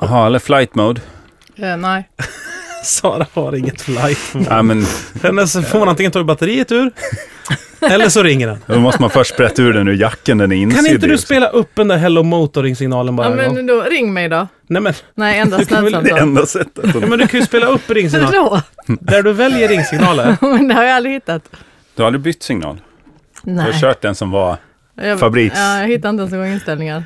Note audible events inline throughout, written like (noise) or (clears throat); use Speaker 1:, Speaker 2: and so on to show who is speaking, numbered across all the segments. Speaker 1: Jaha, eller flight mode.
Speaker 2: Eh, nej.
Speaker 3: Sara har inget flight mode.
Speaker 1: Ja, men
Speaker 3: Hennes får man antingen ta batteriet ur, eller så ringer den.
Speaker 1: då måste man först sprätta ur den ur jacken, den är insidig. liksom.
Speaker 3: Kan inte du
Speaker 1: också.
Speaker 3: spela upp den där Hello Motoring-signalen bara
Speaker 2: Ja,
Speaker 3: en gång?
Speaker 2: men då, ring mig då.
Speaker 3: Nej men,
Speaker 2: Nej, endast
Speaker 3: Du kan väl
Speaker 1: Det är
Speaker 2: (laughs) nödsamtal.
Speaker 1: enda sättet.
Speaker 3: ja, men du kan ju spela upp
Speaker 2: Hur (laughs)
Speaker 3: ringsignalen.
Speaker 2: då?
Speaker 3: Där du väljer ringsignaler.
Speaker 2: Men det har jag aldrig hittat.
Speaker 1: Du har aldrig bytt signal. Du har
Speaker 2: Nej.
Speaker 1: kört den som var...
Speaker 2: Jag,
Speaker 1: Fabriks.
Speaker 2: Ja, jag hittar inte ens en gång inställningar.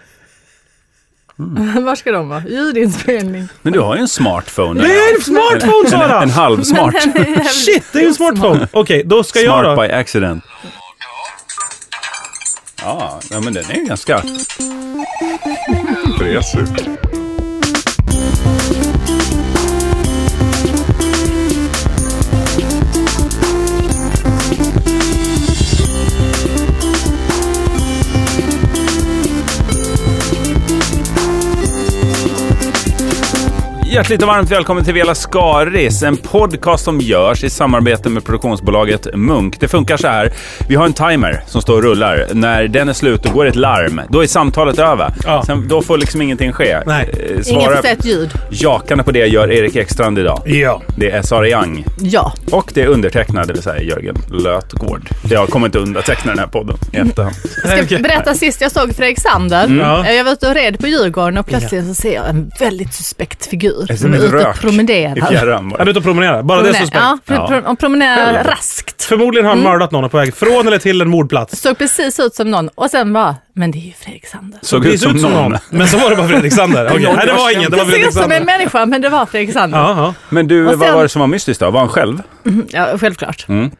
Speaker 2: (laughs) Var ska de vara? Ljudinspelning. (laughs)
Speaker 1: Men du har ju en smartphone.
Speaker 3: Det är en smartphone
Speaker 1: En, en,
Speaker 3: Sara!
Speaker 1: en halv
Speaker 3: (laughs)
Speaker 1: smart.
Speaker 3: Shit, det är ju en smartphone! Okej, då ska jag
Speaker 1: Smart
Speaker 3: då.
Speaker 1: by accident. Ja, ja, men den är ju ganska...
Speaker 4: Fräs ut.
Speaker 1: Hjärtligt och varmt välkommen till Vela Skaris, en podcast som görs i samarbete med produktionsbolaget Munk. Det funkar så här. Vi har en timer som står och rullar. När den är slut, då går ett larm. Då är samtalet över.
Speaker 3: Ja.
Speaker 1: Sen, då får liksom ingenting ske.
Speaker 3: Nej.
Speaker 1: Eh,
Speaker 2: Inget
Speaker 1: Svara
Speaker 2: sett ljud.
Speaker 1: jakande på det gör Erik Ekstrand idag.
Speaker 3: Ja.
Speaker 1: Det är Sara Young
Speaker 2: Ja.
Speaker 1: och det är undertecknad, det vill säga Jörgen Lötgård. Jag kommer inte underteckna den här podden i efterhand.
Speaker 2: Jag ska
Speaker 3: Okej.
Speaker 2: berätta sist jag såg Fredrik Sander.
Speaker 3: Ja.
Speaker 2: Jag var ute och red på Djurgården och plötsligt så ser jag en väldigt suspekt figur.
Speaker 1: Det är som
Speaker 2: är
Speaker 1: en
Speaker 2: ute och
Speaker 1: rök i
Speaker 2: Mm. promenerar.
Speaker 1: fjärran.
Speaker 3: Han är
Speaker 1: bara.
Speaker 3: ute och promenerar, bara det är suspekt.
Speaker 2: Ja, pro- pro- och promenerar raskt.
Speaker 3: Förmodligen har
Speaker 2: Mm.
Speaker 3: han mördat någon på väg från eller till en mordplats.
Speaker 2: Såg precis ut som någon och sen bara, men det är ju Fredrik Sander.
Speaker 1: Såg
Speaker 3: Precis
Speaker 1: ut som någon.
Speaker 3: Men så var det bara
Speaker 1: (laughs)
Speaker 3: Fredrik Sander. Okej, Nej, det var ingen. Det
Speaker 2: Det
Speaker 3: var
Speaker 2: ser
Speaker 3: Fredrik
Speaker 2: ut som en
Speaker 3: Sander.
Speaker 2: människa men det var Fredrik Sander. Ja.
Speaker 3: Ja, ja.
Speaker 1: Men du,
Speaker 2: Och sen-
Speaker 1: vad var det som var mystiskt då? Var han själv?
Speaker 2: självklart.
Speaker 1: Mm.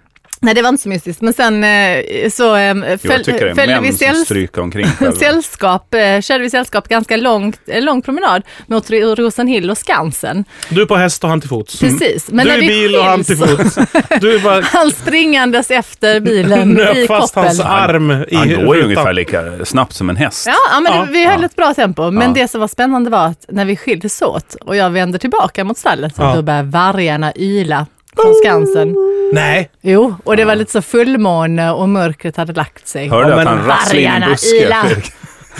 Speaker 2: Nej det var inte så mystiskt men sen eh, så eh,
Speaker 1: Jo, jag
Speaker 2: föl-
Speaker 1: tycker det.
Speaker 2: följde vi
Speaker 1: Män som
Speaker 2: säll-
Speaker 1: stryker omkring själv.
Speaker 2: (laughs) sällskap, eh, körde vi sällskap ganska långt, eh, lång promenad mot Ro- Rosenhill och Skansen.
Speaker 3: Du på häst och han till fots.
Speaker 2: Precis. Men
Speaker 3: Du
Speaker 2: när
Speaker 3: i
Speaker 2: vi
Speaker 3: bil och han
Speaker 2: skiljs-
Speaker 3: till fots. Du bara
Speaker 2: (laughs) Han springandes efter
Speaker 3: (laughs)
Speaker 2: bilen i
Speaker 3: nöp fast
Speaker 2: koppel.
Speaker 3: hans arm i
Speaker 1: Han går ju
Speaker 3: rutan.
Speaker 1: ungefär lika snabbt som en häst.
Speaker 2: Ja, ja, men
Speaker 3: Ja.
Speaker 2: det- vi höll
Speaker 1: Ja.
Speaker 2: ett bra tempo. Men
Speaker 1: Ja.
Speaker 2: det som var spännande var att när vi skildes åt och jag vänder tillbaka mot stallet, så
Speaker 3: Ja.
Speaker 2: då började vargarna yla från Skansen.
Speaker 3: Nej,
Speaker 2: Jo, och det var lite så fullmåne och mörkret hade lagt sig.
Speaker 1: Hörde
Speaker 3: Ja,
Speaker 1: du att
Speaker 3: men
Speaker 1: han rasslade in i en
Speaker 2: vargarna
Speaker 1: buske?
Speaker 2: ylar.
Speaker 1: Fredrik?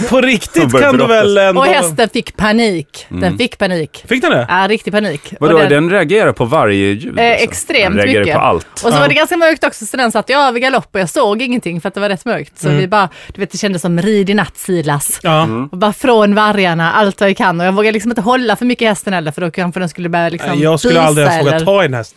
Speaker 3: på
Speaker 1: Han
Speaker 3: riktigt
Speaker 1: började
Speaker 3: kan du
Speaker 1: brottas.
Speaker 3: väl ändå...
Speaker 2: Och hästen fick panik. Den fick panik.
Speaker 3: Fick den det?
Speaker 2: Ja, riktig panik.
Speaker 1: (laughs) Mm. Vadå,
Speaker 2: och
Speaker 1: den... reagerar på varje ljud?
Speaker 2: Eh,
Speaker 1: alltså?
Speaker 2: extremt
Speaker 1: den reagerar
Speaker 2: mycket.
Speaker 1: på allt.
Speaker 2: Och så
Speaker 3: Ja.
Speaker 2: var det ganska mörkt också så den satte jag över galopp och jag såg ingenting för att det var rätt mörkt.
Speaker 1: Mm.
Speaker 2: Så vi bara, du vet det kändes som rid i natt Silas.
Speaker 3: Ja.
Speaker 2: Och bara från vargarna, allt vad jag kan. Och jag vågade liksom inte hålla för mycket hästen heller för då kanske den skulle börja liksom
Speaker 3: Nej, Jag skulle
Speaker 2: bisa
Speaker 3: aldrig ens våga
Speaker 2: eller-
Speaker 3: ta i
Speaker 1: (laughs)
Speaker 3: en häst.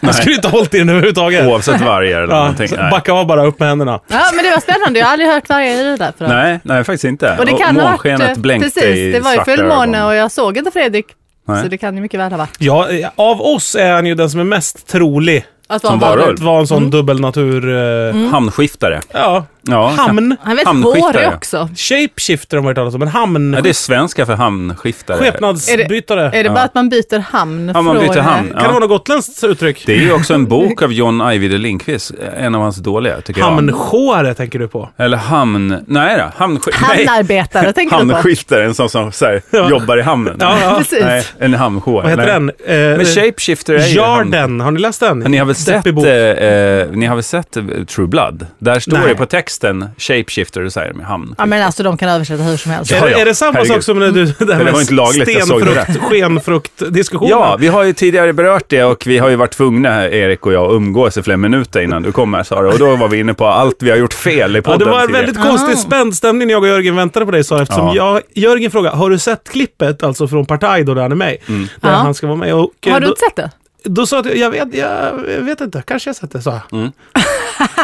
Speaker 3: Jag skulle inte ha hållit i den överhuvudtaget.
Speaker 1: Oavsett vargar eller
Speaker 3: Ja,
Speaker 1: någonting.
Speaker 3: så
Speaker 1: Nej.
Speaker 3: backa av bara, upp med händerna.
Speaker 2: Ja men det var spännande, jag har aldrig hört vargar i det där förut.
Speaker 1: nej, nej, faktiskt inte.
Speaker 2: Och det kan ha varit,
Speaker 1: månskenet
Speaker 2: eh,
Speaker 1: blänkte
Speaker 2: precis,
Speaker 1: i
Speaker 2: det var ju
Speaker 1: svarta
Speaker 2: fullmåne
Speaker 1: ögon.
Speaker 2: och jag såg inte Fredrik.
Speaker 1: Nej.
Speaker 2: Så det kan ju mycket väl ha varit.
Speaker 3: Ja, eh, av oss är han ju den som är mest trolig
Speaker 2: Att
Speaker 1: Som
Speaker 2: vara-
Speaker 1: varulv.
Speaker 3: att vara en sån
Speaker 2: Mm.
Speaker 3: dubbelnatur... eh,
Speaker 1: Hamnskiftare.
Speaker 3: Ja,
Speaker 1: Ja,
Speaker 3: hamn.
Speaker 2: Han är väldigt
Speaker 1: Hamnskiftare.
Speaker 2: hårig också.
Speaker 3: Shapeshifter har man hört talas om, men hamn...
Speaker 1: Ja, det är svenska för hamnskiftare.
Speaker 3: Skepnadsbytare.
Speaker 2: Är det bara att man byter hamn
Speaker 1: Ja, man
Speaker 2: från... eh,
Speaker 1: byter hamn.
Speaker 3: Kan det vara något gotländskt uttryck?
Speaker 1: Det är ju också en bok av John Ajvide Lindqvist, en av hans dåliga tycker jag.
Speaker 3: Hamnskåre tänker du på?
Speaker 1: Eller hamn... Nej då, hamnskift... nej.
Speaker 2: Hamnarbetare tänker du på?
Speaker 1: Hamnskiftare, en sån som så här,
Speaker 3: Ja.
Speaker 1: jobbar i hamnen.
Speaker 3: Ja, ja.
Speaker 2: (laughs) Precis.
Speaker 1: Nej, en hamnskår.
Speaker 3: Vad heter
Speaker 1: Nej.
Speaker 3: den? Eh,
Speaker 1: Men Shapeshifter är ju hamn...
Speaker 3: Jarden, har ni läst den?
Speaker 1: Ni har, väl sett,
Speaker 3: Deppig
Speaker 1: eh,
Speaker 3: bok.
Speaker 1: eh, ni har väl sett eh, True Blood? Där står
Speaker 3: Nej. Ah,
Speaker 1: det på texten Shapeshifter, och så här med hamn.
Speaker 2: Ja men alltså de kan översätta hur som helst.
Speaker 1: Ja,
Speaker 3: Är, det-
Speaker 1: ja.
Speaker 3: är det samma
Speaker 1: Herregud. Mm.
Speaker 3: sak som när du... (laughs) Det
Speaker 1: var
Speaker 3: här med
Speaker 1: inte lagligt, jag såg det
Speaker 3: stenfrukt, skenfrukt-diskussionen?
Speaker 1: Ja, vi har ju tidigare berört det och vi har ju varit tvungna, Erik och jag, att umgås i flera minuter innan du kom här Sara. Och då var vi inne på allt vi har gjort fel i
Speaker 3: Ja,
Speaker 1: podden.
Speaker 3: det var en
Speaker 1: tidigare.
Speaker 3: väldigt konstig spänd stämning när jag och Jörgen väntade på dig Sara, eftersom
Speaker 1: Ja.
Speaker 3: jag, Jörgen frågade, har du sett klippet alltså från Partaj då där han är med?
Speaker 1: Mm.
Speaker 3: Där
Speaker 2: Ja.
Speaker 3: han ska vara med. Och, eh,
Speaker 2: Har du
Speaker 3: då,
Speaker 2: inte sett det?
Speaker 3: då sa jag, att jag vet, jag, jag vet inte, kanske jag sett det, sa jag.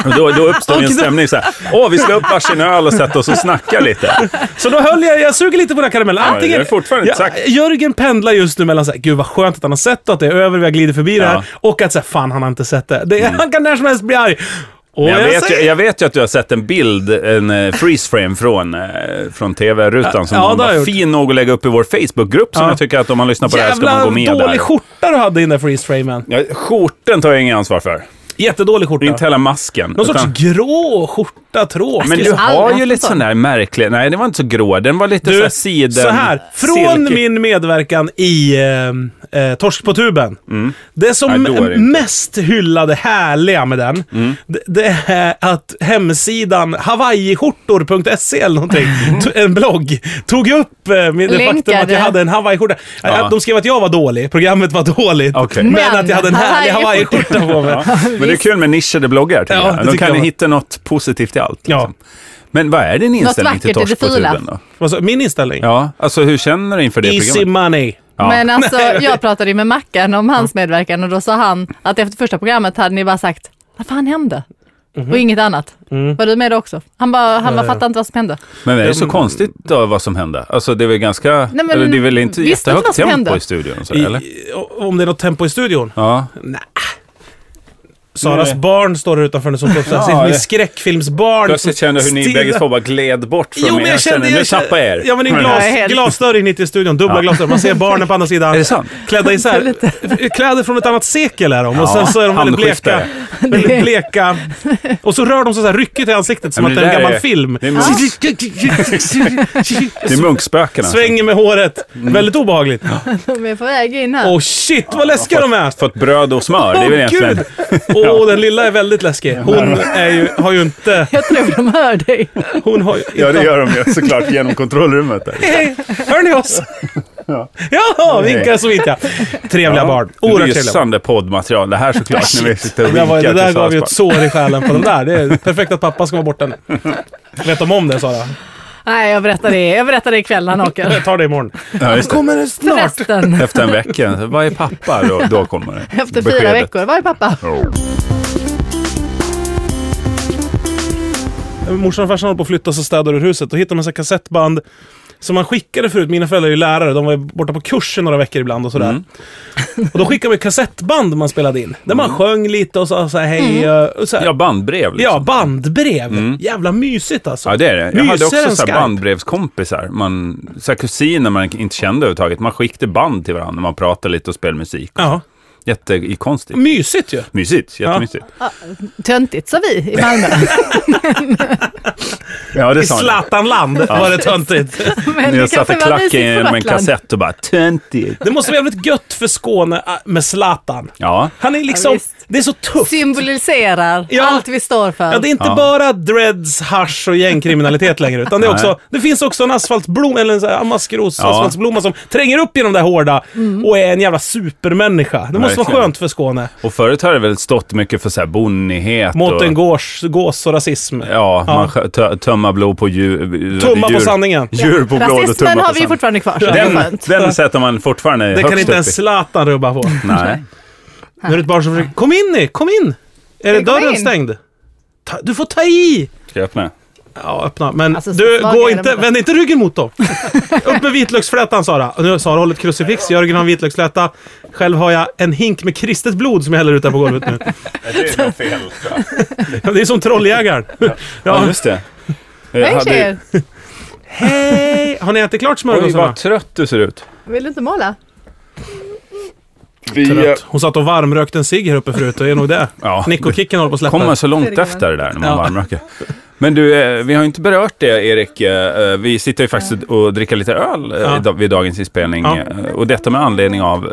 Speaker 1: Och Då, då uppstod ju en
Speaker 3: (laughs) Och då-
Speaker 1: stämning så här. Åh, vi slår upp varsin öl och sätter oss och snackar lite.
Speaker 3: Så då höll jag, jag suger lite på den här karamellen. Antingen,
Speaker 1: det är fortfarande inte sagt.
Speaker 3: Jörgen pendlar just nu mellan så här, gud vad skönt att han har sett det, att det är över, vi har glidit förbi det här. Och att så här, fan han har inte sett det. det Han kan när som helst bli arg. Och
Speaker 1: Mm. Men jag, vet ju,
Speaker 3: säger-
Speaker 1: jag vet ju att du har sett en bild, en eh, freeze frame från, eh, från tv-rutan som
Speaker 3: Ja,
Speaker 1: någon
Speaker 3: det har jag
Speaker 1: var
Speaker 3: gjort.
Speaker 1: fin nog att lägga upp i vår Facebookgrupp som
Speaker 3: Ja.
Speaker 1: jag tycker att om man lyssnar på det här ska
Speaker 3: Jävla
Speaker 1: man gå med
Speaker 3: dålig
Speaker 1: där.
Speaker 3: skjorta du hade i den där freeze-framen.
Speaker 1: Ja, skjorten tar jag ingen ansvar för.
Speaker 3: Jättedålig skjorta.
Speaker 1: Inte hela masken.
Speaker 3: Någon
Speaker 1: utan-
Speaker 3: sorts grå skjorta, tråkig.
Speaker 1: Men du
Speaker 2: Jag har aldrig
Speaker 1: har
Speaker 2: haft
Speaker 1: ju
Speaker 2: en
Speaker 1: lite
Speaker 2: sån.
Speaker 1: sån där märklig... Nej, det var inte så grå. Den var lite så här siden...
Speaker 3: så här. Från
Speaker 1: silke-
Speaker 3: min medverkan i eh, eh, Torsk på tuben. Det som
Speaker 1: Mm. Nej, då är det inte. Mm.
Speaker 3: mest hyllade härliga med den, det, det är att hemsidan hawaiiskjortor.se eller någonting,
Speaker 1: Mm.
Speaker 3: to- en blogg, tog upp eh, med det faktum att
Speaker 2: Länkade.
Speaker 3: jag hade en hawaiiskjorta.
Speaker 1: Ja.
Speaker 3: Ja. De skrev att jag var dålig, programmet var dåligt,
Speaker 1: Okej.
Speaker 3: men,
Speaker 2: Men
Speaker 3: att jag hade en härlig
Speaker 2: hawaiiskjorta.
Speaker 3: hawaiiskjorta på mig.
Speaker 1: Ja. Men det är kul med nischade bloggar. tycker
Speaker 3: Ja,
Speaker 1: jag.
Speaker 3: det
Speaker 1: De
Speaker 3: tycker
Speaker 1: kan
Speaker 3: jag
Speaker 1: ju
Speaker 3: med.
Speaker 1: hitta något positivt i allt.
Speaker 3: Ja.
Speaker 1: Liksom. Men vad är din inställning till
Speaker 2: vackert i det
Speaker 1: torsk på
Speaker 2: fula.
Speaker 1: tuben då?
Speaker 3: Alltså, min inställning?
Speaker 1: Ja, alltså hur känner du inför det
Speaker 3: Easy
Speaker 1: programmet?
Speaker 3: money.
Speaker 1: Ja.
Speaker 2: Men alltså, jag pratade ju med Mackan om hans medverkan och då sa han att efter första programmet hade ni bara sagt, vad fan hände?
Speaker 1: Mhm.
Speaker 2: Och inget annat.
Speaker 1: Mm.
Speaker 2: Var du med då också? Han bara, han
Speaker 1: Eh.
Speaker 2: bara fattade inte vad som hände.
Speaker 1: Men det är så konstigt då, vad som hände. Alltså det är väl ganska...
Speaker 2: Nej, men
Speaker 1: eller det är väl inte
Speaker 2: visste inte
Speaker 1: jättehögt
Speaker 2: vad som
Speaker 1: tempo
Speaker 2: hände.
Speaker 1: i studion? och Så, där, eller?
Speaker 3: I- Om det är något tempo i studion?
Speaker 1: Ja.
Speaker 3: Saras
Speaker 1: Nej.
Speaker 3: barn står där utanför
Speaker 1: (laughs)
Speaker 3: nu som plötsligt
Speaker 1: Ja,
Speaker 3: ja,
Speaker 1: det-
Speaker 3: med skräckfilmsbarn.
Speaker 1: Plötsligt
Speaker 3: som
Speaker 1: kände hur ni
Speaker 3: stirrar-
Speaker 1: bägge två bara gled bort från
Speaker 3: Jo,
Speaker 1: mig.
Speaker 3: men jag kände...
Speaker 1: nu
Speaker 3: Jag kände
Speaker 1: tappar jag er. Mm.
Speaker 3: Ja, men det är
Speaker 1: Men-
Speaker 2: Ja,
Speaker 3: glas,
Speaker 2: helt.
Speaker 3: glasdörr in hit i studion. Dubbla glasdörr. Man ser barnen
Speaker 1: (laughs)
Speaker 3: på andra sidan.
Speaker 1: Är det sant? (laughs)
Speaker 3: Klädda isär. Kläder från ett annat sekel är de. Och
Speaker 1: Ja,
Speaker 3: sen så är de väldigt bleka.
Speaker 1: handskiftare.
Speaker 3: (laughs) Väldigt bleka. Och så rör de sig så här ryckigt i ansiktet som
Speaker 1: Men
Speaker 3: att
Speaker 1: det
Speaker 3: det är en
Speaker 1: där
Speaker 3: gammal
Speaker 1: är-
Speaker 3: film.
Speaker 1: det är
Speaker 3: (laughs)
Speaker 1: Det är Mm. munkspökena. alltså.
Speaker 3: Svänger med håret. Väldigt obehagligt.
Speaker 2: De är på väg in här.
Speaker 3: Åh shit, vad läskiga de är!
Speaker 1: Fått bröd och smör. Det är väl
Speaker 3: Åh
Speaker 1: egentligen...
Speaker 3: gud!
Speaker 1: (laughs)
Speaker 3: Åh, den lilla är väldigt läskig. Hon är ju, har ju inte...
Speaker 2: Jag tror de hör dig.
Speaker 3: Hon har ju
Speaker 1: Ja, det
Speaker 3: inte-
Speaker 1: gör de ju såklart genom kontrollrummet.
Speaker 3: (laughs)
Speaker 1: Där.
Speaker 3: Hej, hör ni oss? Ja, vinkar så vinkar jag. Trevliga barn. Oerhört trevliga.
Speaker 1: Lysande poddmaterial det här såklart. när vi sitter och
Speaker 3: Det, var, det
Speaker 1: vinkar
Speaker 3: där
Speaker 1: till
Speaker 3: gav ju
Speaker 1: Saras barn.
Speaker 3: ett sår i själen på de där. Det är perfekt att pappa ska vara borta nu. Vet de om det Sara?
Speaker 2: Nej, jag berättar det, jag berättar det ikväll när han åker.
Speaker 3: Jag tar det imorgon.
Speaker 1: Ja, just det.
Speaker 3: Kommer det snart?
Speaker 2: Förresten,
Speaker 1: Efter en vecka. Vad är pappa? Då, då kommer det.
Speaker 2: efter fyra
Speaker 1: Beskedet.
Speaker 2: veckor, var är pappa?
Speaker 3: Morsan och farsan håller på att flytta så städar ur huset. Då hittar man så här kassettband som man skickade förut. Mina föräldrar är ju lärare. De var ju borta på kurser några veckor ibland och sådär.
Speaker 1: Mm.
Speaker 3: (laughs) Och då skickade man ju kassettband man spelade in. Där man sjöng lite och sa så här hej.
Speaker 2: Mm.
Speaker 3: Och så här.
Speaker 1: Mm. Ja, bandbrev. Liksom. Mm.
Speaker 3: Ja, bandbrev. Jävla mysigt alltså.
Speaker 1: Ja, det är det. Jag hade
Speaker 3: Mysigare
Speaker 1: också
Speaker 3: än
Speaker 1: så här
Speaker 3: Skype.
Speaker 1: bandbrevskompisar. Man, så här kusiner man inte kände överhuvudtaget. Man skickade band till varandra när man pratade lite och spelade musik.
Speaker 3: Ja.
Speaker 1: Jättekonstigt.
Speaker 3: Mysigt ju.
Speaker 1: Mysigt, jättemysigt.
Speaker 2: Töntigt sa vi i
Speaker 1: (laughs)
Speaker 2: Malmö.
Speaker 1: Ja, det
Speaker 3: I Zlatanland var det töntigt.
Speaker 2: Men
Speaker 1: Jag
Speaker 2: det
Speaker 1: satt
Speaker 2: kanske
Speaker 1: och
Speaker 2: var
Speaker 1: klackade
Speaker 2: mysigt på
Speaker 1: genom en
Speaker 2: Gotland.
Speaker 1: kassett och bara töntigt.
Speaker 3: Det måste vara jävligt gött för Skåne äh, med Zlatan.
Speaker 1: Ja.
Speaker 3: Han är
Speaker 2: Ja,
Speaker 3: liksom...
Speaker 2: visst.
Speaker 3: Det är så tufft.
Speaker 2: Symboliserar
Speaker 3: Ja.
Speaker 2: allt vi står för.
Speaker 3: Ja, det är inte
Speaker 1: Ja.
Speaker 3: bara dreads, hasch och gängkriminalitet längre. Utan det, är också, det finns också en asfaltblomma, eller en sån här maskros
Speaker 1: Ja.
Speaker 3: asfaltsblomma som tränger upp genom det här hårda
Speaker 2: Mm.
Speaker 3: och är en jävla supermänniska. Det måste vara
Speaker 1: Verkligen.
Speaker 3: skönt för Skåne.
Speaker 1: Och förut har det väl stått mycket för så här bonnighet
Speaker 3: Mot
Speaker 1: och...
Speaker 3: en gås, gås och rasism.
Speaker 1: Ja, man skö- tö- tömma blod på djur.
Speaker 3: Tumma på
Speaker 1: djur-
Speaker 3: sanningen.
Speaker 1: Djur på blod och
Speaker 2: Rasismen
Speaker 1: tumma
Speaker 2: har
Speaker 1: på
Speaker 2: vi ju
Speaker 1: sanningen.
Speaker 2: fortfarande kvar, så det är
Speaker 1: Den,
Speaker 2: skönt.
Speaker 1: den sätter man fortfarande
Speaker 3: Det
Speaker 1: högst
Speaker 3: kan inte
Speaker 1: upp
Speaker 3: ens
Speaker 1: i.
Speaker 3: Zlatan
Speaker 2: (laughs)
Speaker 3: rubba på.
Speaker 1: Nej.
Speaker 3: Nu är det ett barn som försöker... Kom in ni! Kom in! Är det
Speaker 2: Kom
Speaker 3: dörren
Speaker 2: in.
Speaker 3: stängd? Ta, du får ta i!
Speaker 1: Ska jag öppna?
Speaker 3: Ja, öppna. Men
Speaker 2: Alltså,
Speaker 3: du,
Speaker 2: svag
Speaker 3: gå
Speaker 2: är
Speaker 3: inte,
Speaker 2: de.
Speaker 3: vänd inte ryggen mot dem. Upp med vitlöksflätan Sara. Och Nu har Sara hållit krucifix, Jörgen har en vitlöksfläta. Själv har jag en hink med kristet blod som jag häller ut där på golvet nu.
Speaker 1: Det är nog fel.
Speaker 3: Det är som trolljägaren.
Speaker 1: Ja,
Speaker 3: Ja.
Speaker 1: just det. Jag
Speaker 2: Hej
Speaker 1: hade-
Speaker 2: tjejer!
Speaker 3: Hej! Har ni ätit klart
Speaker 1: Oj,
Speaker 3: smörgåsarna?
Speaker 1: vad trött du ser ut.
Speaker 2: Vill du inte måla?
Speaker 3: Trött. Hon satt och varmrökte en cigg här uppe förut, det är nog det.
Speaker 1: Ja, det
Speaker 3: Nickokicken håller på att släppa.
Speaker 1: kommer så långt
Speaker 2: Herregud.
Speaker 1: efter det där när man
Speaker 3: Ja.
Speaker 1: varmröker. Men du, eh, vi har ju inte berört det Erik. Eh, Vi sitter ju faktiskt och dricker lite öl eh,
Speaker 3: Ja.
Speaker 1: i dag- vid dagens inspelning.
Speaker 3: Ja.
Speaker 1: Eh, Och detta med anledning av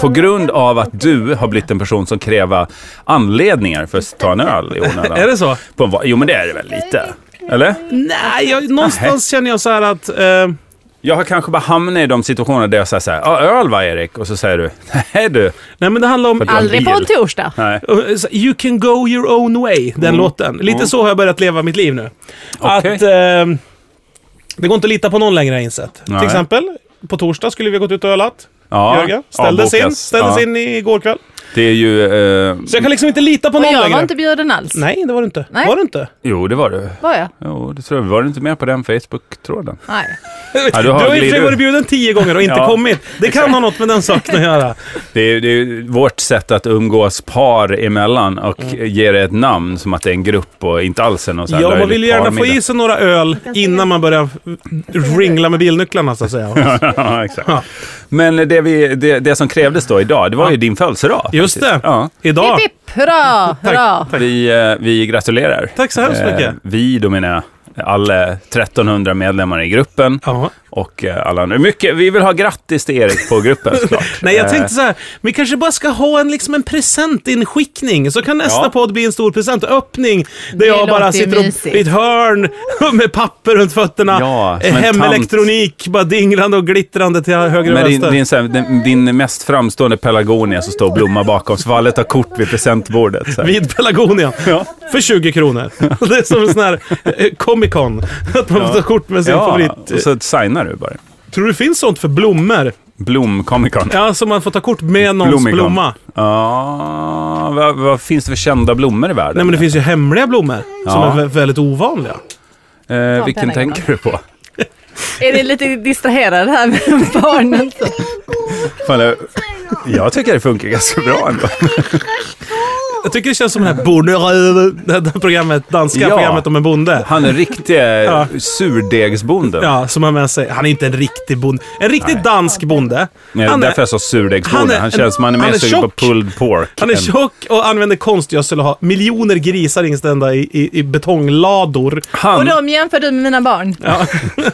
Speaker 1: På grund av att du har blivit en person som kräver anledningar för att ta en öl i onödan.
Speaker 3: Är det så?
Speaker 1: På en va- jo, men det är det väl lite? Eller?
Speaker 3: Nej, jag, någonstans känner jag så här att... Eh,
Speaker 1: Jag har kanske bara hamnat i de situationer där jag säger så här, ja, öl va Erik? Och så säger du, nej du.
Speaker 3: nej, men det handlar om...
Speaker 1: För att jag-
Speaker 2: Aldrig på en
Speaker 1: bil.
Speaker 2: torsdag.
Speaker 1: Nej.
Speaker 3: Uh, You can go your own way, den låten. Lite så har jag börjat leva mitt liv nu.
Speaker 1: Mm. Okej.
Speaker 3: Att eh, det går inte att lita på någon längre har jag insett.
Speaker 1: Nej.
Speaker 3: Till exempel, på torsdag skulle vi ha gått ut och ölat.
Speaker 1: Ja,
Speaker 3: Jörgen ställdes in,
Speaker 1: avbokas.
Speaker 3: ställdes
Speaker 1: Ja.
Speaker 3: in igår kväll.
Speaker 1: Det är ju... Eh,
Speaker 3: Så jag kan liksom inte lita på
Speaker 2: Och
Speaker 3: någon
Speaker 2: jag
Speaker 3: längre.
Speaker 2: var inte bjuden alls.
Speaker 3: Nej, det var du inte.
Speaker 2: Nej.
Speaker 3: Var du inte?
Speaker 1: jo, det var du.
Speaker 2: Var jag?
Speaker 1: Jo, det tror jag. Var du inte med på den Facebook-tråden?
Speaker 2: Nej.
Speaker 1: har
Speaker 3: du har ju i och för sig
Speaker 1: glidit-
Speaker 3: varit bjuden tio gånger och inte
Speaker 1: (laughs) Ja.
Speaker 3: kommit. Det kan ha något med den saken
Speaker 1: (laughs)
Speaker 3: att göra.
Speaker 1: Det är, det är ju vårt sätt att umgås par emellan och ge det ett namn som att det är en grupp och inte alls är någon sån här
Speaker 3: Mm. Ja, man
Speaker 1: löjlig
Speaker 3: vill ju gärna få
Speaker 1: (laughs) parmiddag.
Speaker 3: i sig några öl innan man börjar ringla med
Speaker 1: (laughs)
Speaker 3: bilnycklarna så att säga.
Speaker 1: ja, exakt.
Speaker 3: Ja.
Speaker 1: Men det, vi, det, det som krävdes då idag, det var ju din födelsedag.
Speaker 3: Just det.
Speaker 1: Ja.
Speaker 3: Idag.
Speaker 2: Hipp, hipp, hurra, hurra.
Speaker 1: Vi, eh, vi gratulerar.
Speaker 3: Tack så hemskt
Speaker 1: Eh,
Speaker 3: mycket.
Speaker 1: Vi, då menar jag, alla 1300 medlemmar i gruppen.
Speaker 3: Ja.
Speaker 1: Och eh, alla nu. Mycket, vi vill ha grattis till Erik på gruppen
Speaker 3: (laughs)
Speaker 1: såklart.
Speaker 3: Nej, jag
Speaker 1: Eh,
Speaker 3: tänkte så här. Vi kanske bara ska ha en, liksom en presentinskickning, så kan nästa
Speaker 1: Ja.
Speaker 3: podd bli en stor presentöppning. Där jag
Speaker 2: låter
Speaker 3: bara sitter upp
Speaker 2: mysigt.
Speaker 3: i ett hörn (laughs) med papper runt fötterna.
Speaker 1: Ja,
Speaker 3: Eh,
Speaker 1: som en
Speaker 3: Hemelektronik, bara dinglande och glittrande till höger och
Speaker 1: Med
Speaker 3: vänster.
Speaker 1: din, din, så här, din, din mest framstående pelargonia som står och blommar bakom. Så får alla ta kort vid presentbordet. Så här.
Speaker 3: Vid Pelagonia.
Speaker 1: Ja.
Speaker 3: För
Speaker 1: (laughs)
Speaker 3: 20 kronor. Det är som en sån här eh, Comic Con. (laughs) Att man får ta kort med sin
Speaker 1: Ja,
Speaker 3: favorit.
Speaker 1: och så signar du bara.
Speaker 3: Tror du det finns sånt för blommor?
Speaker 1: Blom Comic Con.
Speaker 3: Ja, så man får ta kort med någons
Speaker 1: Blommikon.
Speaker 3: blomma.
Speaker 1: Ja, vad, vad finns det för kända blommor i världen?
Speaker 3: Nej, men det finns ju hemliga blommor som
Speaker 1: Ja.
Speaker 3: är vä- väldigt ovanliga.
Speaker 1: eh, vilken
Speaker 2: den här
Speaker 1: tänker du på?
Speaker 2: Är ni lite distraherade här med
Speaker 1: (laughs)
Speaker 2: barnen?
Speaker 1: Fan, jag, jag tycker det funkar ganska bra ändå.
Speaker 3: Jag tycker det känns som det här Bonneröv, det här programmet, danska
Speaker 1: Ja.
Speaker 3: programmet om en bonde.
Speaker 1: Han är riktig ja. surdegsbonden.
Speaker 3: Ja, som har med sig. Han är inte en riktig bonde. En riktig
Speaker 1: Nej.
Speaker 3: dansk bonde.
Speaker 1: Nej,
Speaker 3: Han är,
Speaker 1: Eh, därför jag sa surdegsbonden.
Speaker 3: han
Speaker 1: Han,
Speaker 3: är-
Speaker 1: känns, man är
Speaker 3: han
Speaker 1: mer
Speaker 3: är
Speaker 1: sugen på
Speaker 3: tjock.
Speaker 1: pulled pork.
Speaker 3: han är
Speaker 1: än-
Speaker 3: tjock och använder konstgödsel och har miljoner grisar inställda i, i, i betonglador.
Speaker 2: Och
Speaker 1: Han,
Speaker 2: de jämför du med mina barn?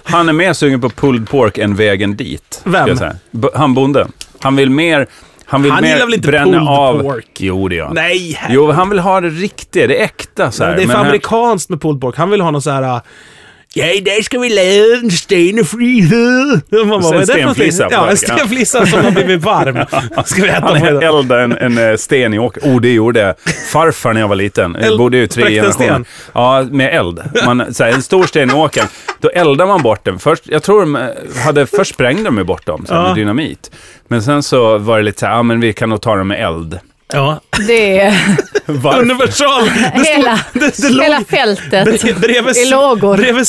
Speaker 3: (laughs)
Speaker 1: han är mer sugen på pulled pork än vägen dit.
Speaker 3: Vem?
Speaker 1: skulle jag säga. B- Han bonden. Han vill mer... Han, vill
Speaker 3: Han
Speaker 1: mer
Speaker 3: gillar väl inte
Speaker 1: bränna
Speaker 3: pulled
Speaker 1: av...
Speaker 3: pork?
Speaker 1: Jo, det gör han.
Speaker 3: Nej, herregud.
Speaker 1: Jo, han vill ha det riktiga, det äkta. Så här.
Speaker 3: Det är för
Speaker 1: Men han-
Speaker 3: amerikanskt med pulled pork. Han vill ha någon så här... äh, Ja, idag ska vi lära en sten och frihet. Man bara,
Speaker 1: sen
Speaker 3: vad är det för någonting?
Speaker 1: stenflisa på
Speaker 3: Ja, en
Speaker 1: verket, ja.
Speaker 3: stenflisa som har blivit
Speaker 1: (laughs)
Speaker 3: varm. (laughs) Ska vi äta
Speaker 1: Han
Speaker 3: på idag?
Speaker 1: eldade en, en eh, sten i åker. Oh, det gjorde farfar när jag var liten.
Speaker 3: Eld-
Speaker 1: Jag bodde ju tre
Speaker 3: spräckte en sten?
Speaker 1: generationer. Ja, med eld. Man, så här, en stor sten i åkern. Då eldar man bort den. Först, jag tror de eh, hade, först sprängde de ju bort dem så här,
Speaker 3: Ja.
Speaker 1: med dynamit. Men sen så var det lite så här, ja men vi kan nog ta dem med eld.
Speaker 3: Ja.
Speaker 2: Det är
Speaker 1: Varför?
Speaker 3: Universal!
Speaker 1: (laughs)
Speaker 3: Det stod-
Speaker 2: hela,
Speaker 3: det, det låg
Speaker 2: hela fältet.
Speaker 3: Bre- Bredvid,
Speaker 2: I lågor.
Speaker 3: bredvid
Speaker 2: Men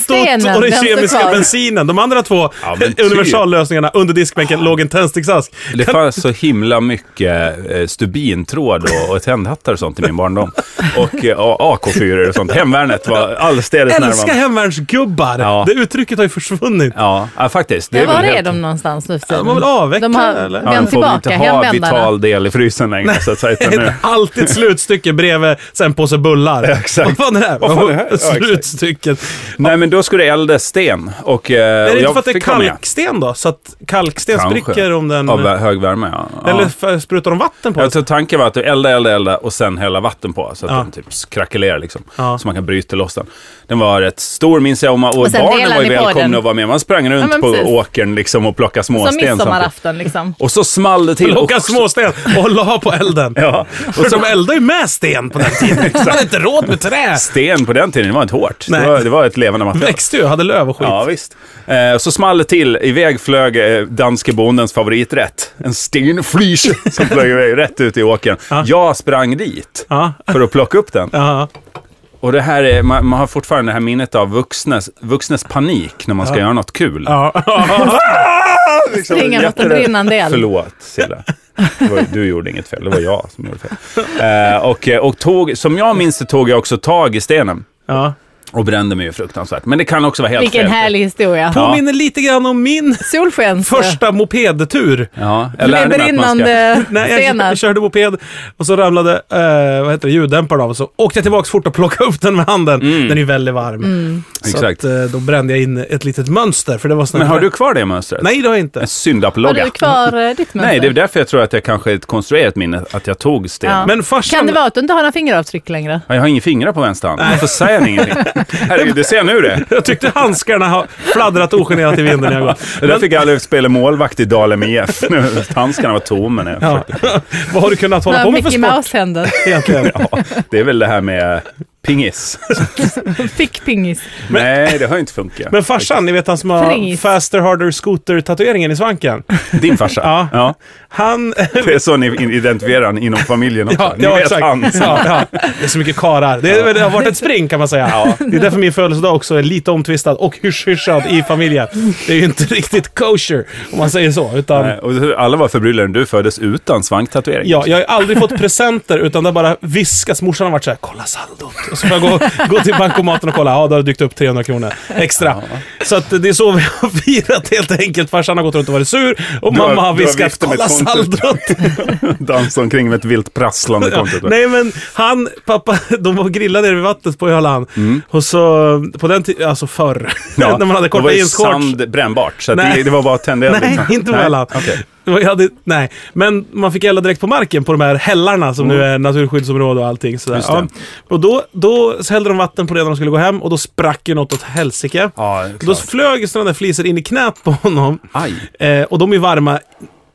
Speaker 3: svintot
Speaker 2: stenen,
Speaker 3: och den
Speaker 2: den står
Speaker 3: kemiska
Speaker 2: kvar.
Speaker 3: bensinen. De andra två
Speaker 1: Ja, men typ. Ah.
Speaker 3: universallösningarna under diskbänken låg en tändsticksask.
Speaker 1: Det fanns så himla mycket eh, stubintråd och, och tändhattar och sånt i min barndom. Och eh, AK4 och sånt. Hemvärnet var allestädes
Speaker 3: Älskar
Speaker 1: närvarande.
Speaker 3: hemvärnsgubbar!
Speaker 1: Ja.
Speaker 3: Det uttrycket har ju försvunnit.
Speaker 1: Ja, ja, faktiskt. Det
Speaker 2: Ja,
Speaker 1: är
Speaker 2: var
Speaker 1: väl
Speaker 2: är
Speaker 1: helt-
Speaker 2: de någonstans nu för
Speaker 3: De har väl
Speaker 2: tiden?
Speaker 3: avvecklat
Speaker 2: De har-
Speaker 3: eller?
Speaker 1: Ja,
Speaker 2: Vänd
Speaker 1: den får vi inte
Speaker 2: tillbaka,
Speaker 1: ha
Speaker 2: hemvändarna.
Speaker 1: vital del i frysen längre. Så att säga,
Speaker 3: (laughs)
Speaker 1: utan nu.
Speaker 3: Alltid ett slutstycke bredvid sen en påse bullar.
Speaker 1: exakt.
Speaker 3: Vad fan är det här?
Speaker 1: Vad fan är det här? Ja, exakt.
Speaker 3: Slutstycket.
Speaker 1: Nej, men då skulle det eldas sten. Och, eh,
Speaker 3: är
Speaker 1: och
Speaker 3: det inte
Speaker 1: jag
Speaker 3: för att det är
Speaker 1: fick vara med.
Speaker 3: kalksten då? Så att kalksten
Speaker 1: Kanske.
Speaker 3: spricker om den...
Speaker 1: Av vä- hög värme, ja. ja.
Speaker 3: Eller f- sprutar de vatten på
Speaker 1: jag
Speaker 3: den?
Speaker 1: tror tanken var att du elda, elda, elda och sen hälla vatten på. Så att
Speaker 3: Ja.
Speaker 1: den typ krackelerar liksom.
Speaker 3: Ja.
Speaker 1: Så man kan bryta loss den. Den var rätt stor minns jag. Och, man, och,
Speaker 2: Och sen
Speaker 1: barnen
Speaker 2: delar
Speaker 1: var ju
Speaker 2: ni på
Speaker 1: välkomna
Speaker 2: den.
Speaker 1: att vara med. Man sprang runt
Speaker 2: Ja, men
Speaker 1: på
Speaker 2: precis.
Speaker 1: åkern liksom och plockade
Speaker 2: Som
Speaker 1: småsten. samtidigt.
Speaker 2: midsommarafton liksom.
Speaker 1: Och så small det till.
Speaker 3: Plocka
Speaker 1: och-
Speaker 3: småsten och la på elden.
Speaker 1: Ja.
Speaker 3: För (laughs) de eldade ju med sten på den
Speaker 1: (laughs)
Speaker 3: tiden. Man hade inte råd med trä.
Speaker 1: Sten på den tiden, det var inte hårt.
Speaker 3: Nej.
Speaker 1: Det var, det var ett levande material.
Speaker 3: Växte ju, hade löv och skit.
Speaker 1: Ja, visst. Eh, så small det till. Iväg flög eh, danske bondens favoriträtt. En stenflis
Speaker 3: (laughs)
Speaker 1: som flög iväg rätt ut i åkern. Jag sprang dit
Speaker 3: Ja.
Speaker 1: för att plocka upp den.
Speaker 3: Ja.
Speaker 1: Och det här är, man, man har fortfarande det här minnet av vuxnes, vuxnes panik när man ska göra något kul.
Speaker 3: Ja.
Speaker 1: Liksom,
Speaker 2: Springa mot en
Speaker 1: jätterädd.
Speaker 2: brinnande eld.
Speaker 1: Förlåt, Cilla. Det var- Du gjorde inget fel, det var jag som gjorde fel. Eh, och, eh, och tog, som jag minns det tog jag också tag i stenen
Speaker 3: Ja.
Speaker 1: och brände mig ju fruktansvärt. Men det kan också vara helt
Speaker 2: Vilken
Speaker 1: fel.
Speaker 2: härlig historia.
Speaker 3: Påminner lite grann
Speaker 1: (laughs)
Speaker 3: om min
Speaker 2: Solskens...
Speaker 3: första mopedtur.
Speaker 1: Ja, jag lärde
Speaker 2: Med
Speaker 1: mig att man ska...
Speaker 2: brinnande
Speaker 3: Nej, jag
Speaker 2: stenar.
Speaker 3: kö- körde moped och så ramlade eh, vad heter det, ljuddämparen av och så åkte jag tillbaka fort och plockade upp den med handen. Den är ju väldigt varm.
Speaker 2: Mm.
Speaker 3: Så
Speaker 1: Mm. Exakt.
Speaker 3: Att, eh, då brände jag in ett litet mönster. För det var sån här-
Speaker 1: Men har du kvar det mönstret?
Speaker 3: Nej, det har jag inte.
Speaker 1: En
Speaker 2: Har
Speaker 1: syndapplogga.
Speaker 2: du kvar eh, ditt mönster?
Speaker 1: Nej, det är därför jag tror att jag kanske är ett konstruerat minne, att jag tog sten.
Speaker 2: Ja.
Speaker 1: Men
Speaker 3: Men farsan...
Speaker 2: Kan det vara att du inte har några fingeravtryck längre?
Speaker 1: jag har inga fingrar på vänster hand. Varför säger jag
Speaker 3: (laughs)
Speaker 1: ingenting? Herregud, du ser nu det.
Speaker 3: Jag tyckte handskarna har fladdrat ogenerat i vinden när jag går.
Speaker 1: Det där fick jag aldrig spela målvakt i Dalem IF. Nu, Handskarna var tomma när jag
Speaker 3: Ja. (laughs) Vad har du kunnat hålla på
Speaker 2: Några
Speaker 3: med för
Speaker 2: Mickey
Speaker 3: sport
Speaker 2: (laughs) Mouse-händer.
Speaker 1: (laughs)
Speaker 3: egentligen?
Speaker 1: Ja, det är väl det här med
Speaker 3: (laughs)
Speaker 1: pingis.
Speaker 2: Fick pingis.
Speaker 1: Nej, det har ju inte funkat.
Speaker 3: Men farsan, ni vet han som har
Speaker 2: Fris.
Speaker 3: Faster Harder Scooter-tatueringen i svanken.
Speaker 1: Din farsa?
Speaker 3: Ja.
Speaker 1: ja.
Speaker 3: Han...
Speaker 1: Det är så ni identifierar han inom familjen också. ni vet han.
Speaker 3: Ja, ja. Det är så mycket karar. Det, är, det har varit ett spring kan man säga. Det är därför min födelsedag också är lite omtvistad och hysch-hyschad i familjen. Det är ju inte riktigt kosher, om man säger så. Utan,
Speaker 1: Nej, Eh, Och alla var förbryllade när du föddes utan svanktatuering.
Speaker 3: Ja, jag har ju aldrig fått presenter utan det har bara viskats. Morsan har varit såhär, kolla saldot. Och så får jag gå, gå till bankomaten och kolla. Ja, då har det dykt upp 300 kronor extra. Så att det är så vi har firat helt enkelt. Farsan har gått runt och varit sur och
Speaker 1: Du har-
Speaker 3: mamma har
Speaker 1: du har
Speaker 3: viskat
Speaker 1: viftat med
Speaker 3: kolla
Speaker 1: kontot." (laughs)
Speaker 3: saldot.
Speaker 1: Dansa omkring med ett vilt prasslande
Speaker 3: Ja,
Speaker 1: kontot.
Speaker 3: nej men han, pappa, (laughs) de var och grillade nere vid vattnet på Öland. Och så, på den tiden, alltså förr,
Speaker 1: Mm. Ja,
Speaker 3: (laughs) när man hade
Speaker 1: det var
Speaker 3: korta
Speaker 1: ju
Speaker 3: jeansshorts.
Speaker 1: sand brännbart, så att
Speaker 3: Nej.
Speaker 1: det, det var bara att tända eld,
Speaker 3: (laughs) Nej,
Speaker 1: liksom.
Speaker 3: inte på Öland.
Speaker 1: okej.
Speaker 3: Jag hade, nej, men man fick elda direkt på marken på de här hällarna som nu är naturskyddsområde och allting. Sådär.
Speaker 1: Mm. Just det.
Speaker 3: Ja. Och då, då så hällde de vatten på det när de skulle gå hem och då sprack ju något åt helsike.
Speaker 1: Ja, det är
Speaker 3: då
Speaker 1: klart.
Speaker 3: flög sådana där flisor in i knät på honom.
Speaker 1: Aj.
Speaker 3: Eh, och de är varma.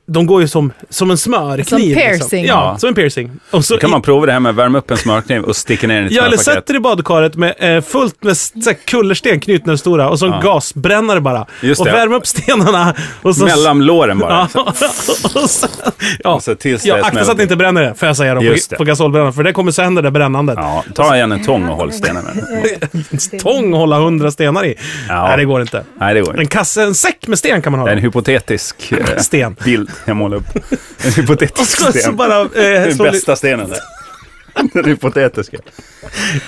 Speaker 3: De går ju som, som en smörkniv.
Speaker 2: Som
Speaker 3: Liksom.
Speaker 2: piercing.
Speaker 3: Ja,
Speaker 1: Ja.
Speaker 3: som en piercing. Och så
Speaker 1: Då kan man prova det här med att värma upp en smörkniv och sticka ner den i ett
Speaker 3: Ja, eller
Speaker 1: snöpaket.
Speaker 3: sätter i badkaret med eh, fullt med s- så här kullersten, knytnävsstora, och så en
Speaker 1: Ja.
Speaker 3: gasbrännare bara.
Speaker 1: Just
Speaker 3: och
Speaker 1: det.
Speaker 3: värmer upp stenarna. Och så
Speaker 1: Mellan låren bara.
Speaker 3: Ja, (laughs) och så, ja.
Speaker 1: Och så tills det
Speaker 3: ja akta så
Speaker 1: smäller.
Speaker 3: att ni inte bränner det, får jag säga då,
Speaker 1: Just det.
Speaker 3: på, på gasolbrännaren. För det kommer sönder det brännandet.
Speaker 1: Ja, ta gärna en tång och håll stenen med.
Speaker 3: (laughs) Tång att hålla hundra stenar i.
Speaker 1: Ja.
Speaker 3: Nej, det går inte.
Speaker 1: Nej, det går
Speaker 3: En
Speaker 1: inte.
Speaker 3: kasse, en säck med sten kan man
Speaker 1: Det
Speaker 3: ha.
Speaker 1: är en
Speaker 3: då.
Speaker 1: hypotetisk
Speaker 3: (laughs)
Speaker 1: eh, (laughs)
Speaker 3: Sten.
Speaker 1: bild jag målar upp. En
Speaker 3: Och
Speaker 1: hypotetisk
Speaker 3: så, så
Speaker 1: sten.
Speaker 3: bara... Eh,
Speaker 1: Den
Speaker 3: så
Speaker 1: bästa stenen
Speaker 3: (laughs)
Speaker 1: där. Den hypotetiska.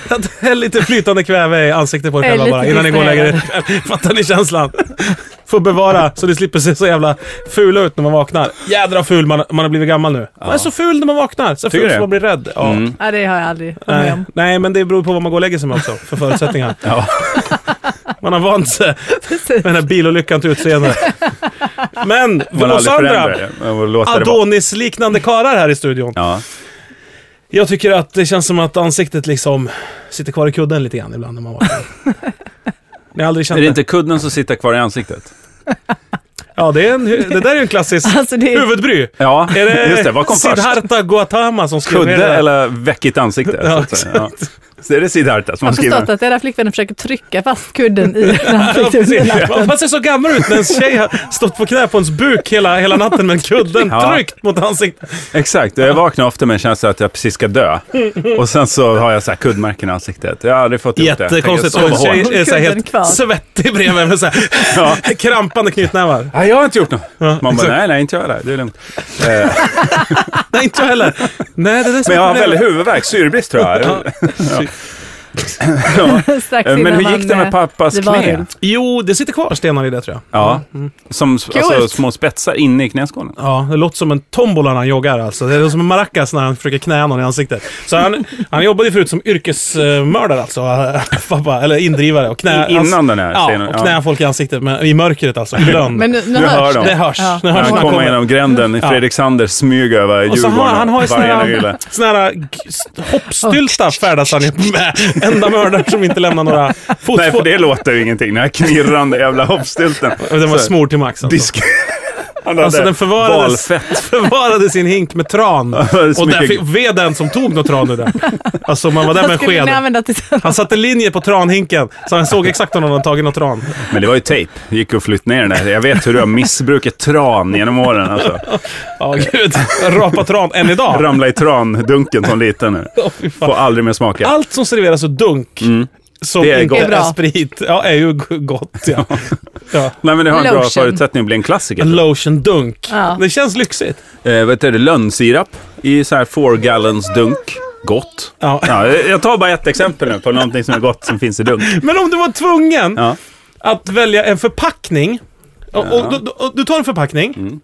Speaker 3: att häll (laughs) lite flytande kväve i ansiktet på er
Speaker 2: Häll
Speaker 3: själva bara
Speaker 2: lite
Speaker 3: innan ni går och lägger
Speaker 2: flytande
Speaker 3: er. Fattar ni känslan? Får bevara så ni slipper se så jävla fula ut när man vaknar. Jädra ful man, man har blivit gammal nu. Man är så ful när man vaknar. Så
Speaker 1: Tycker
Speaker 3: ful
Speaker 1: du? Mm.
Speaker 3: så man blir rädd. Ja.
Speaker 2: Ja, det har jag aldrig varit med
Speaker 3: Nej.
Speaker 2: om.
Speaker 3: Nej, men det beror på vad man går och lägger sig med också, för förutsättningar.
Speaker 1: Ja.
Speaker 3: Man har vant sig med den här bilolyckan till utseende. Men,
Speaker 1: Man
Speaker 3: för oss
Speaker 1: aldrig förändrar
Speaker 3: andra
Speaker 1: det. Man låter det vara.
Speaker 3: Adonis-liknande karlar här i studion.
Speaker 1: Ja.
Speaker 3: Jag tycker att det känns som att ansiktet liksom sitter kvar i kudden lite grann ibland när man vaknar. Ni har aldrig känt
Speaker 1: Är det inte kudden som sitter kvar i ansiktet?
Speaker 3: Ja, det, är en, det där är ju
Speaker 2: (laughs)
Speaker 3: en klassisk
Speaker 2: Alltså det är,
Speaker 3: huvudbry.
Speaker 1: Ja,
Speaker 3: Är det,
Speaker 1: just det. Vad kom först?
Speaker 3: Siddhartha Gautama som skrev ner
Speaker 1: Kudde
Speaker 3: det där?
Speaker 1: eller väckigt ansikte?
Speaker 3: Ja,
Speaker 1: så att säga. ja. Så är det Siddharta som har
Speaker 2: jag har
Speaker 1: skrivit
Speaker 2: förstått att era flickvänner försöker trycka fast kudden i den (laughs) här
Speaker 3: (laughs) Ja,
Speaker 2: flickvännen.
Speaker 3: precis. Man- Man ser så gammal ut när en tjej har stått på knä på ens buk hela, hela natten med en kudden
Speaker 1: Ja.
Speaker 3: tryckt mot ansiktet.
Speaker 1: Exakt, jag vaknar ofta med en känsla att jag precis ska dö. Och sen så har jag så här kuddmärken i ansiktet. Jag har aldrig fått ihop det.
Speaker 3: Jättekonstigt.
Speaker 1: Jag
Speaker 3: Och
Speaker 1: tänker,
Speaker 3: en
Speaker 1: så hårt.
Speaker 3: tjej är så här helt
Speaker 2: Kudden kvar.
Speaker 3: svettig bredvid med så här
Speaker 1: Ja.
Speaker 3: (laughs) krampande knytnävar.
Speaker 1: Nej, jag har inte gjort något. Man bara,
Speaker 3: exakt.
Speaker 1: nej, nej, inte jag där. Det är lugnt. Eh,
Speaker 3: Nej, inte jag heller. Nej, det där är så
Speaker 1: Men jag har
Speaker 3: problemet.
Speaker 1: väldigt huvudvärk, syrebrist tror jag.
Speaker 3: Ja.
Speaker 1: Ja.
Speaker 2: Strax
Speaker 1: Men
Speaker 2: innan
Speaker 1: hur gick det
Speaker 2: man,
Speaker 1: med
Speaker 2: eh,
Speaker 1: pappas
Speaker 2: det var
Speaker 1: knä?
Speaker 2: det.
Speaker 3: Jo, det sitter kvar stenar i det tror jag.
Speaker 1: Ja,
Speaker 3: Mm.
Speaker 1: som s- alltså,
Speaker 2: Coolt.
Speaker 1: små spetsar inne i knäskålen.
Speaker 3: Ja, det låter som en tombola när han joggar alltså. Det är som en maracas när han försöker knäa någon i ansiktet. Så han, han jobbade ju förut som yrkesmördare alltså, (laughs) pappa, eller indrivare. Och knä,
Speaker 1: I- innan
Speaker 3: ans-
Speaker 1: den här
Speaker 3: alltså- Ja,
Speaker 1: scenen,
Speaker 3: och
Speaker 1: ja.
Speaker 3: knä folk i ansiktet med, i mörkret alltså. i Glön.
Speaker 2: Men nu, nu,
Speaker 1: Nu hör
Speaker 2: hörs
Speaker 1: de.
Speaker 3: det hörs.
Speaker 2: Ja.
Speaker 3: Nu
Speaker 1: När
Speaker 3: hörs
Speaker 1: han
Speaker 3: när
Speaker 1: kommer
Speaker 3: kommer.
Speaker 1: genom gränden i
Speaker 3: Ja.
Speaker 1: Fredrik Sanders smyg över
Speaker 3: Och så
Speaker 1: Djurgården.
Speaker 3: har han har ju såna
Speaker 1: varje
Speaker 3: här,
Speaker 1: yle.
Speaker 3: såna här g- s- hoppstyltar färdas han ju med. Enda mördaren som inte lämnar några fotspår.
Speaker 1: Nej, för det låter ju ingenting. Den här knirrande jävla
Speaker 3: (laughs)
Speaker 1: hoppstylten.
Speaker 3: Den var
Speaker 1: Så-
Speaker 3: smord till max alltså.
Speaker 1: Disk. (laughs) Han hade
Speaker 3: Alltså, den förvarades-
Speaker 1: valfett.
Speaker 3: (laughs) Förvarade sin hink med tran.
Speaker 1: det är så
Speaker 3: Och där
Speaker 1: mycket-
Speaker 3: fick, ved den som tog något tran ur den. Alltså man var där med
Speaker 2: (laughs)
Speaker 3: en
Speaker 2: Vad skulle
Speaker 3: sked.
Speaker 2: ni använda till
Speaker 3: (laughs) Han satte linje på tranhinken, så han såg exakt om någon hade tagit något tran.
Speaker 1: Men det var ju tejp. Det gick att flytta ner den där. Jag vet hur du har missbrukat tran genom åren. Alltså.
Speaker 3: Ja, gud. Rapa tran än idag.
Speaker 1: Ramla i trandunken som liten nu.
Speaker 3: Åh, fy fan.
Speaker 1: Får aldrig mer smaka.
Speaker 3: Allt som serveras och dunk, som
Speaker 1: Mm. Det är
Speaker 3: inte
Speaker 1: gott.
Speaker 2: Det är
Speaker 3: är
Speaker 2: bra.
Speaker 3: sprit, ja, är ju g- gott.
Speaker 1: (laughs)
Speaker 3: Ja. Ja.
Speaker 1: Nej, men det har en bra
Speaker 2: Lotion.
Speaker 1: förutsättning att bli en klassiker.
Speaker 3: En lotion-dunk.
Speaker 2: Ja.
Speaker 3: Det känns lyxigt.
Speaker 1: Eh, vad heter det? Lönnsirap i så här four gallons dunk. Gott.
Speaker 3: Ja.
Speaker 1: Ja, jag tar bara ett exempel nu på någonting som är gott som finns i dunk.
Speaker 3: Men om du var tvungen
Speaker 1: Ja.
Speaker 3: att välja en förpackning. Och, och, du- du- du tar en förpackning.
Speaker 1: Mm.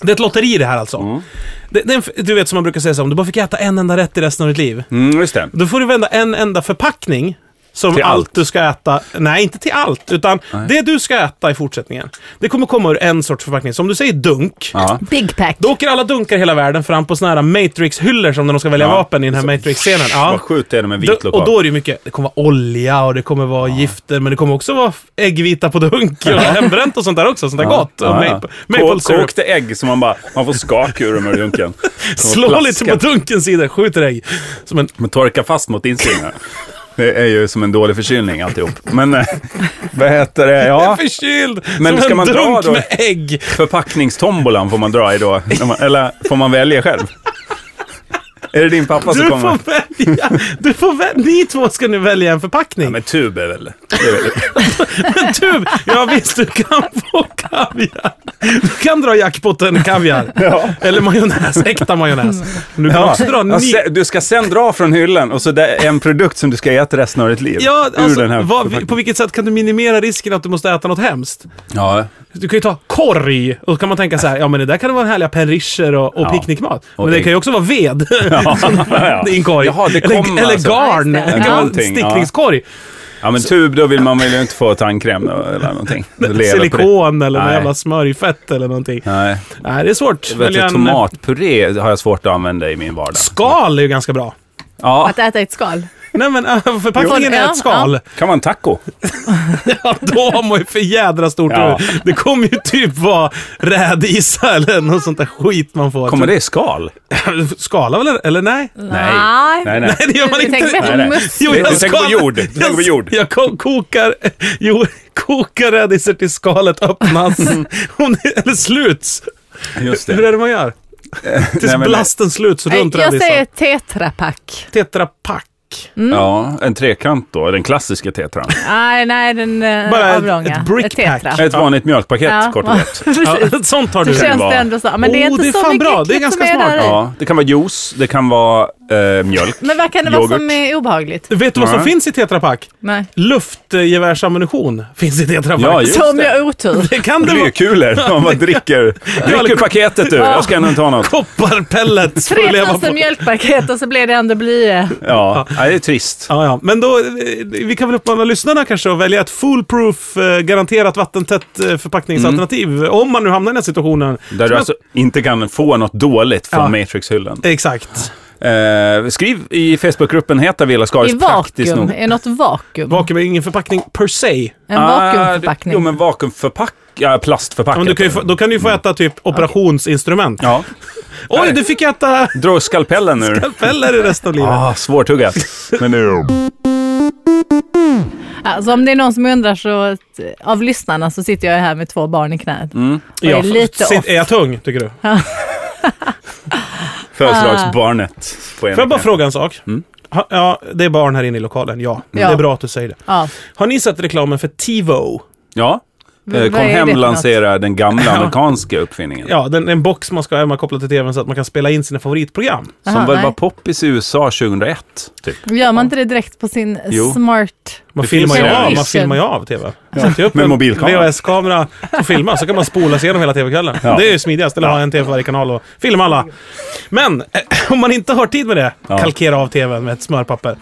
Speaker 3: Det är ett lotteri det här alltså. Det, det är en, f- du vet som man brukar säga så här, om du bara fick äta en enda rätt i resten av ditt liv.
Speaker 1: Mm, just det.
Speaker 3: Då får du vända en enda förpackning. Som
Speaker 1: Till
Speaker 3: allt.
Speaker 1: allt.
Speaker 3: du ska äta. Nej, inte till allt. Utan det du ska äta i fortsättningen. Det kommer komma ur en sorts förpackning. Så om du säger dunk.
Speaker 1: Ja.
Speaker 2: Big pack.
Speaker 3: Då åker alla dunkar i hela världen fram på såna här Matrix-hyllor som när de ska välja
Speaker 1: Ja.
Speaker 3: vapen i den här Matrix-scenen.
Speaker 1: Vad
Speaker 3: Ja.
Speaker 1: sjukt det är med
Speaker 3: Då-
Speaker 1: vitlök
Speaker 3: Och då är det ju mycket, det kommer vara olja och det kommer vara gifter, men det kommer också vara äggvita på dunk och hembränt och sånt där också. Sånt där gott. Och maple, maple syrup.
Speaker 1: Kokta ägg som man bara, man får skak ur dem ur dunken. Som
Speaker 3: (laughs) Slå
Speaker 1: plaska.
Speaker 3: lite på dunkens sida, skjuter ägg. Som en,
Speaker 1: Men torka fast mot insidan. Det är ju som en dålig förkylning alltihop. Men eh, vad heter det? Ja,
Speaker 3: förkyld!
Speaker 1: Men
Speaker 3: som
Speaker 1: ska
Speaker 3: en
Speaker 1: man dra
Speaker 3: dunk
Speaker 1: då?
Speaker 3: med ägg.
Speaker 1: förpackningstombolan får man dra i då. När man- Eller får man välja själv? Är det din pappa
Speaker 3: Du
Speaker 1: som kommer?
Speaker 3: får välja! Du får väl, ni två ska nu välja en förpackning.
Speaker 1: Men tub är väl... det är väl-
Speaker 3: Men du, ja visst du kan få kaviar. Du kan dra jackpotten kaviar.
Speaker 1: Ja.
Speaker 3: Eller majonnäs, äkta majonnäs. Du kan också dra
Speaker 1: Ja,
Speaker 3: ni-
Speaker 1: se- du ska sen dra från hyllan och så det är en produkt som du ska äta resten av ditt liv.
Speaker 3: Ja,
Speaker 1: Ur
Speaker 3: alltså,
Speaker 1: den här
Speaker 3: vad,
Speaker 1: förpackningen.
Speaker 3: på vilket sätt kan du minimera risken att du måste äta något hemskt?
Speaker 1: Ja,
Speaker 3: Du kan ju ta korg och då kan man tänka så här, ja men det där kan vara härliga perrischer och, och
Speaker 1: Ja.
Speaker 3: picknickmat. Men
Speaker 1: Och
Speaker 3: det
Speaker 1: ägg.
Speaker 3: kan ju också vara ved
Speaker 1: ja, (laughs)
Speaker 3: (laughs)
Speaker 1: ja.
Speaker 3: i en korg.
Speaker 1: Jaha, det
Speaker 3: eller,
Speaker 1: kom
Speaker 3: eller
Speaker 1: alltså.
Speaker 3: garn.
Speaker 2: Ja, just det.
Speaker 3: Det kan vara en
Speaker 1: Någonting, ja.
Speaker 3: sticklingskorg.
Speaker 1: ja, men tub, då vill man väl inte få tandkräm eller någonting.
Speaker 3: (laughs)
Speaker 1: Leva på det.
Speaker 3: Silikon eller någon
Speaker 1: Nej.
Speaker 3: jävla smörjfett eller någonting.
Speaker 1: Nej,
Speaker 3: Nej, det är svårt.
Speaker 1: vet
Speaker 3: Välja
Speaker 1: du,
Speaker 3: en-
Speaker 1: tomatpuré har jag svårt att använda i min vardag.
Speaker 3: Skal är ju ganska bra.
Speaker 1: Ja,
Speaker 2: Att äta ett skal.
Speaker 3: Nej men äh, förpackningen
Speaker 2: Jo.
Speaker 3: är
Speaker 2: Ja,
Speaker 3: ett skal. (laughs)
Speaker 1: kan man taco?
Speaker 3: Ja, då har man ju för jädra stort
Speaker 1: Ja.
Speaker 3: huvud. Det kommer ju typ vara rädisa eller något sånt där skit man får.
Speaker 1: Kommer det i skal?
Speaker 3: (laughs) Skala väl? Eller nej?
Speaker 2: Mm. Nej.
Speaker 1: Nej, nej.
Speaker 2: (laughs)
Speaker 3: Nej, det gör man
Speaker 2: Vi tänker
Speaker 3: inte.
Speaker 2: mer-
Speaker 1: Nej, nej.
Speaker 2: Jo,
Speaker 1: Du-
Speaker 3: jag
Speaker 1: du tänker på
Speaker 3: skal-
Speaker 1: jord. Du tänker på jord.
Speaker 3: Jag ko- kokar, (laughs) jo, kokar rädisor tills skalet öppnas.
Speaker 2: Mm.
Speaker 3: (laughs) Om det- eller sluts.
Speaker 1: Just
Speaker 3: Hur
Speaker 1: det. Eh,
Speaker 3: är det man gör? (laughs) Tills
Speaker 1: Nej, men-
Speaker 3: blasten sluts
Speaker 2: Nej,
Speaker 3: runt
Speaker 2: Jag säger Mm.
Speaker 3: rädisan.
Speaker 2: tetrapack.
Speaker 3: Tetra Pak.
Speaker 1: Ja, en trekant då. Den klassiska tetran.
Speaker 2: Nej, nej, den eh,
Speaker 3: Bara ett-
Speaker 2: avlånga.
Speaker 3: ett brick
Speaker 2: tetra.
Speaker 3: pack.
Speaker 1: Ett vanligt mjölkpaket,
Speaker 2: Ja.
Speaker 1: kort och gott.
Speaker 2: (laughs)
Speaker 3: Ja, (laughs) sånt har
Speaker 2: Så
Speaker 3: du.
Speaker 2: känns
Speaker 1: vara-
Speaker 2: det ändå så. Men det är
Speaker 3: Oh,
Speaker 2: inte
Speaker 3: det är
Speaker 2: så
Speaker 3: fan
Speaker 2: mycket
Speaker 3: bra. Det är
Speaker 2: äckligt
Speaker 3: ganska
Speaker 2: som är där
Speaker 3: smart.
Speaker 2: i.
Speaker 1: Ja, det kan vara juice, det kan vara eh, mjölk.
Speaker 2: Men vad kan det vara som
Speaker 1: Yoghurt.
Speaker 2: är obehagligt?
Speaker 3: Vet du vad som
Speaker 1: Nej.
Speaker 3: finns i Tetra Pak?
Speaker 2: Nej.
Speaker 3: Luftgevärsammunition finns i Tetra Pak.
Speaker 1: Ja, ju- Just
Speaker 2: Som
Speaker 1: det.
Speaker 2: jag har otur.
Speaker 3: Det kan det vara.
Speaker 1: Blykulor, om man dricker. Dricker paketet du, jag ska ändå ta något.
Speaker 3: Kopparpellets får leva
Speaker 2: 3000
Speaker 3: på.
Speaker 2: mjölkpaket och så blir det ändå eh, blye.
Speaker 1: Ja, nej, det är trist.
Speaker 3: Ja, ja. Men då, eh, vi kan väl uppmana lyssnarna kanske att välja ett foolproof, eh, garanterat vattentätt eh, förpackningsalternativ. Om man nu hamnar i den här situationen.
Speaker 1: Mm. Där
Speaker 3: Som
Speaker 1: du
Speaker 3: jag-
Speaker 1: alltså inte kan få något dåligt från
Speaker 3: Ja.
Speaker 1: Matrix-hyllan.
Speaker 3: Exakt.
Speaker 1: Eh, skriv i Facebookgruppen Heta Villa Skaris,
Speaker 2: I vakuum. Är något vakuum?
Speaker 3: Vakuum är ingen förpackning per se.
Speaker 2: En
Speaker 1: Ah,
Speaker 2: vakuumförpackning.
Speaker 1: jo, men vakuumförpack... Ja,
Speaker 3: Ja,
Speaker 1: plastförpackat.
Speaker 3: Men du kan ju få, då kan du ju få äta typ operationsinstrument.
Speaker 1: Mm. Ja.
Speaker 3: Oj, du fick äta (laughs)
Speaker 1: Dra skalpellen nu.
Speaker 3: peller i resten av livet.
Speaker 1: Ah, svårtuggat.
Speaker 3: (laughs)
Speaker 1: Mm. Men nu...
Speaker 2: Alltså, om det är någon som undrar så eh, av lyssnarna så sitter jag här med två barn i knät.
Speaker 1: Mm.
Speaker 2: Och är lite
Speaker 3: sitt-
Speaker 2: off.
Speaker 3: är jag tung, tycker du?
Speaker 1: Födelsedagsbarnet. Får
Speaker 3: Får jag bara fråga en sak?
Speaker 1: Mm.
Speaker 3: Ha, ja, det är barn här inne i lokalen, ja. Det är
Speaker 2: Ja.
Speaker 3: bra att du säger det.
Speaker 2: Ja.
Speaker 3: Har ni sett reklamen för TiVo?
Speaker 1: Ja.
Speaker 2: V-
Speaker 1: Eh,
Speaker 2: vad
Speaker 1: Kom
Speaker 2: är det
Speaker 1: hem
Speaker 2: för något?
Speaker 1: lanserar den gamla amerikanska uppfinningen.
Speaker 3: Ja, den, en box man ska ha hemma kopplad till tvn så att man kan spela in sina favoritprogram.
Speaker 1: Som
Speaker 2: Aha,
Speaker 1: väl
Speaker 2: nej.
Speaker 1: var poppis i USA 2001, typ.
Speaker 2: Gör man inte det direkt på sin
Speaker 1: Jo.
Speaker 2: smart...
Speaker 3: Man
Speaker 1: Det
Speaker 3: filmar, ju
Speaker 1: finns ju
Speaker 3: av,
Speaker 1: vision.
Speaker 3: man filmar ju av tv. Sätter ju upp
Speaker 1: Med
Speaker 3: en
Speaker 1: mobilkamera.
Speaker 3: VHS-kamera och filmar, så kan man spola sig igenom hela tv-kvällen.
Speaker 1: Ja.
Speaker 3: Det är ju smidigast, eller ha en tv på varje kanal och filma alla. Men eh, om man inte har tid med det,
Speaker 1: Ja.
Speaker 3: kalkera av tvn med ett smörpapper.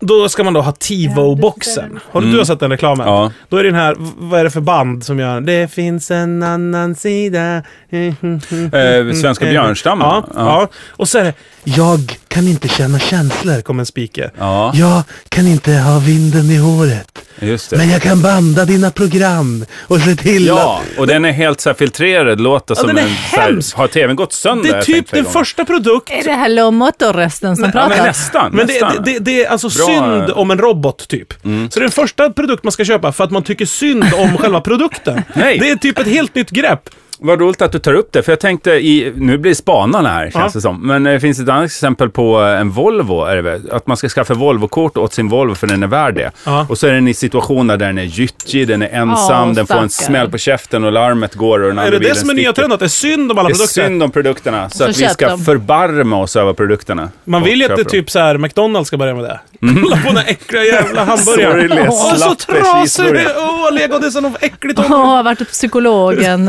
Speaker 3: Då ska man då ha TiVo-boxen. Har du, du har sett den reklamen?
Speaker 1: Mm. Ja.
Speaker 3: Då är det den här, v- vad är det för band som gör Det finns en annan sida. Mm, mm, mm.
Speaker 1: Eh, Svenska
Speaker 3: Mm.
Speaker 1: björnstammen.
Speaker 3: Ja, ja. Och så är det Jag kan inte känna känslor, kom en speaker.
Speaker 1: Ja.
Speaker 3: Jag kan inte ha vinden i håret.
Speaker 1: just det.
Speaker 3: Men jag kan banda dina program och se till
Speaker 1: Ja, och den är helt så här filtrerad. Låter som
Speaker 3: den är
Speaker 1: en... så här-
Speaker 3: hemsk.
Speaker 1: Har tvn gått
Speaker 3: att...
Speaker 1: sönder?
Speaker 3: Det är
Speaker 1: Jag
Speaker 3: typ
Speaker 1: tänkte
Speaker 3: den
Speaker 1: igång.
Speaker 3: första produkt.
Speaker 2: Är det Hello Motor-rösten som
Speaker 1: Ja,
Speaker 2: pratar?
Speaker 1: men nästan.
Speaker 3: Men det,
Speaker 1: nästan.
Speaker 3: det, det, det är alltså
Speaker 1: Bra. Mm.
Speaker 3: synd om en robot, typ. Så det är den första produkt man ska köpa för att man tycker synd
Speaker 1: (laughs)
Speaker 3: om själva produkten.
Speaker 1: Nej.
Speaker 3: Det är typ ett helt nytt grepp.
Speaker 1: Vad roligt att du tar upp det, för jag tänkte i, nu blir spanarna här känns
Speaker 3: Ja.
Speaker 1: det som. Men det finns ett annat exempel på eh, en Volvo, är det väl? Att man ska skaffa Volvo-kort åt sin Volvo för den är värd det.
Speaker 3: Ja.
Speaker 1: Och så är den i situationer där den är gyttjig, den är ensam,
Speaker 2: Ja,
Speaker 1: den får en
Speaker 2: stackare.
Speaker 1: smäll på käften och larmet går och den
Speaker 3: Är
Speaker 1: andra
Speaker 3: det
Speaker 1: bilen
Speaker 3: det som är nya
Speaker 1: sticker.
Speaker 3: trenden? Att det är synd om alla
Speaker 1: Det är
Speaker 3: produkter?
Speaker 1: synd om produkterna, så,
Speaker 2: Så
Speaker 1: att vi
Speaker 2: köp
Speaker 1: ska
Speaker 2: dem.
Speaker 1: förbarma oss över produkterna.
Speaker 3: Man
Speaker 1: Och
Speaker 3: vill ju att
Speaker 1: köper dem.
Speaker 3: det typ så här McDonalds ska börja
Speaker 1: (laughs)
Speaker 3: med det.
Speaker 1: Mm.
Speaker 3: Kolla på den här äckliga jävla hamburgaren.
Speaker 1: Sorgless,
Speaker 3: Åh, så
Speaker 1: slapp
Speaker 3: trasig!
Speaker 1: cheeseburgare.
Speaker 3: Åh, legodisen, vad äckligt!
Speaker 2: Åh, har varit hos psykologen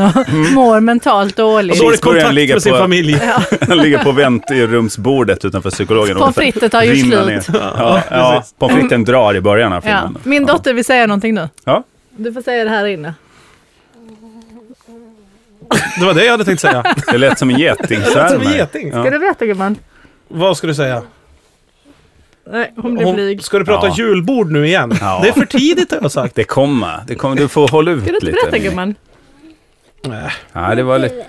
Speaker 1: (laughs)
Speaker 2: och
Speaker 1: Mm.
Speaker 2: mår mentalt
Speaker 3: Och
Speaker 2: dåligt.
Speaker 3: då har det
Speaker 1: Cheeseburgaren
Speaker 3: kontakt
Speaker 1: ligger
Speaker 3: med sin
Speaker 1: på-
Speaker 3: familj.
Speaker 1: (laughs) Den ligger på väntrumsbordet utanför psykologen.
Speaker 2: Pommes frites tar ju
Speaker 1: Rinner
Speaker 2: slut.
Speaker 1: ner. Ja, ja, pommes fritesen drar i början av
Speaker 2: Ja.
Speaker 1: filmen.
Speaker 2: Min dotter vill säga någonting nu.
Speaker 1: Ja.
Speaker 2: Du får säga det här inne.
Speaker 3: Det var det jag hade tänkt säga.
Speaker 1: Det lät som en
Speaker 3: (laughs)
Speaker 1: geting.
Speaker 3: Det lät som en geting.
Speaker 2: Ska du berätta gumman?
Speaker 3: Vad ska du säga?
Speaker 2: Nej, hon blir
Speaker 3: Hon,
Speaker 2: blyg.
Speaker 3: ska du prata
Speaker 1: Ja.
Speaker 3: julbord nu igen?
Speaker 1: Ja.
Speaker 3: Det är för tidigt har jag sagt.
Speaker 1: Det kommer. Det kommer. Du får hålla ut
Speaker 2: Ska du inte
Speaker 1: lite.
Speaker 2: berätta
Speaker 1: Mimmi.
Speaker 2: gumman? (laughs)
Speaker 1: Nej, det var lite...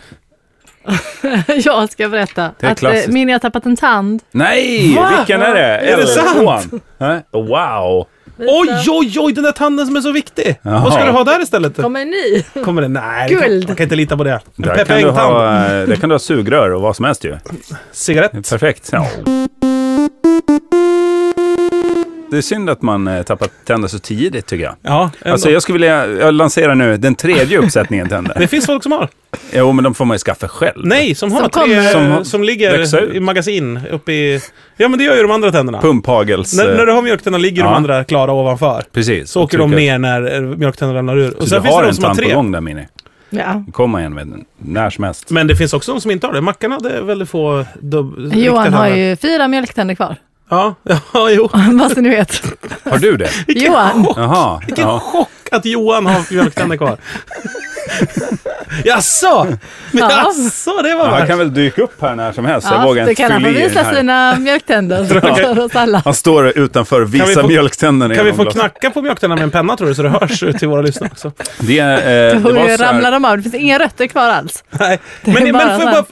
Speaker 2: jag ska berätta.
Speaker 1: Det är
Speaker 2: att eh,
Speaker 1: klassiskt.
Speaker 2: Minnie har tappat en tand.
Speaker 1: Nej!
Speaker 3: Va?
Speaker 1: Vilken är det?
Speaker 3: Är det
Speaker 1: Elvan? Nej, Wow!
Speaker 3: Oj, oj, oj, den där tanden som är så viktig! Vad ska du ha där istället?
Speaker 2: Kommer en
Speaker 1: (laughs)
Speaker 2: ny.
Speaker 3: Kommer det? Nej, det kan,
Speaker 2: Guld.
Speaker 3: man kan inte lita på det. En
Speaker 1: Där
Speaker 3: Peppe
Speaker 1: kan, du
Speaker 3: Engtand.
Speaker 1: ha, eh, där kan du ha sugrör och vad som helst ju.
Speaker 3: Cigarett.
Speaker 1: Perfekt. Ja. Det är synd att man eh, tappat tänder så tidigt tycker jag.
Speaker 3: Ja, ändå.
Speaker 1: Alltså jag skulle vilja, jag lanserar nu den tredje uppsättningen tänder.
Speaker 3: (laughs) Det finns folk som har.
Speaker 1: Jo, men de får man ju skaffa själv.
Speaker 3: Nej, som, har
Speaker 2: Som
Speaker 3: tre,
Speaker 2: kommer-
Speaker 1: Som har-
Speaker 3: som, ligger
Speaker 1: växer ut.
Speaker 3: i magasin uppe i... Ja, men det gör ju de andra tänderna.
Speaker 1: Pumphagels...
Speaker 3: När,
Speaker 1: eh,
Speaker 3: när du har mjölktänderna ligger
Speaker 1: Ja.
Speaker 3: de andra klara ovanför.
Speaker 1: Precis.
Speaker 3: Så åker de ner när eh, mjölktänderna ramlar ur. Och
Speaker 1: Så
Speaker 3: sen
Speaker 1: du
Speaker 3: finns
Speaker 1: har
Speaker 3: det de
Speaker 1: en
Speaker 3: som har
Speaker 1: tand på
Speaker 3: tre.
Speaker 1: gång där Minni.
Speaker 2: Ja.
Speaker 1: Komma igen med den, när som helst.
Speaker 3: Men det finns också de som inte har det. Mackan hade väldigt få dubb... riktiga
Speaker 2: Johan har
Speaker 3: tänder.
Speaker 2: ju fyra mjölktänder kvar. (laughs)
Speaker 3: Ja, (laughs) ja jo.
Speaker 2: Bara så ni vet.
Speaker 1: Har du det?
Speaker 3: Vilken
Speaker 2: Johan.
Speaker 3: chock!
Speaker 1: Jaha.
Speaker 3: Vilken
Speaker 1: Ja.
Speaker 3: chock att Johan har mjölktänder kvar. Jaså?
Speaker 2: Ja.
Speaker 3: Men Jaså, det var
Speaker 1: Ja,
Speaker 3: värt.
Speaker 1: han kan väl dyka upp här när som helst. jag
Speaker 2: Ja,
Speaker 1: vågar
Speaker 2: det
Speaker 1: inte
Speaker 2: kan han få
Speaker 1: fylla i den
Speaker 2: visa
Speaker 1: här. (laughs)
Speaker 2: sina mjölktänder för oss alla.
Speaker 1: Han står utanför och
Speaker 3: vi
Speaker 1: visar
Speaker 3: få-
Speaker 1: mjölktänderna.
Speaker 3: Kan vi
Speaker 1: genom
Speaker 3: få
Speaker 1: glas.
Speaker 3: knacka på mjölktänderna med en penna tror du, så det hörs ut till våra lyssnare
Speaker 2: (laughs)
Speaker 3: också?
Speaker 1: Det, eh, det
Speaker 2: Hur
Speaker 1: var så
Speaker 2: ramlar
Speaker 1: här,
Speaker 2: de av? Det finns inga rötter kvar alls.
Speaker 3: Nej.
Speaker 2: är
Speaker 3: Men, men
Speaker 2: bara
Speaker 3: får jag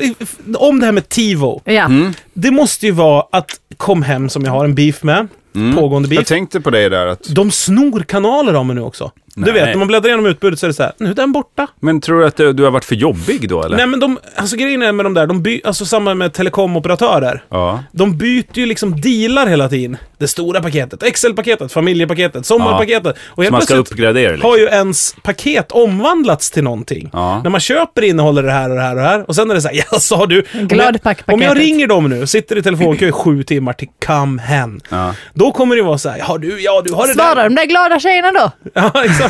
Speaker 3: bara, om det här med TiVo.
Speaker 2: Ja.
Speaker 1: Mm.
Speaker 3: Det måste ju vara att Kom Hem, som jag har en beef med, pågående
Speaker 1: Mm. jag
Speaker 3: beef,
Speaker 1: tänkte på dig där att...
Speaker 3: de snor kanaler av mig nu också.
Speaker 1: Nej.
Speaker 3: Du vet, när man bläddrar igenom utbudet så är det så här, nu är den borta.
Speaker 1: Men tror du att du, du har varit för jobbig då eller?
Speaker 3: Nej men de, alltså grejen är med de där, de by, alltså samma med telekomoperatörer.
Speaker 1: Ja.
Speaker 3: De byter ju liksom dealar hela tiden. Det stora paketet, Excel-paketet, familjepaketet, sommarpaketet. Och
Speaker 1: Så
Speaker 3: helt
Speaker 1: man ska
Speaker 3: plötsligt
Speaker 1: uppgradera liksom.
Speaker 3: har ju ens paket omvandlats till någonting.
Speaker 1: Ja.
Speaker 3: När man köper innehåller det här och det här och det här. Och sen är det så här, (laughs) jaså har du? Om jag-
Speaker 2: Gladpack-paketet.
Speaker 3: Om jag ringer dem nu, sitter i telefonkö i sju timmar till come hen.
Speaker 1: Ja.
Speaker 3: Då kommer det vara så här, har du, ja du har det
Speaker 2: Svarar
Speaker 3: där.
Speaker 2: de där glada tjejerna då?
Speaker 3: (laughs) Ja, exakt.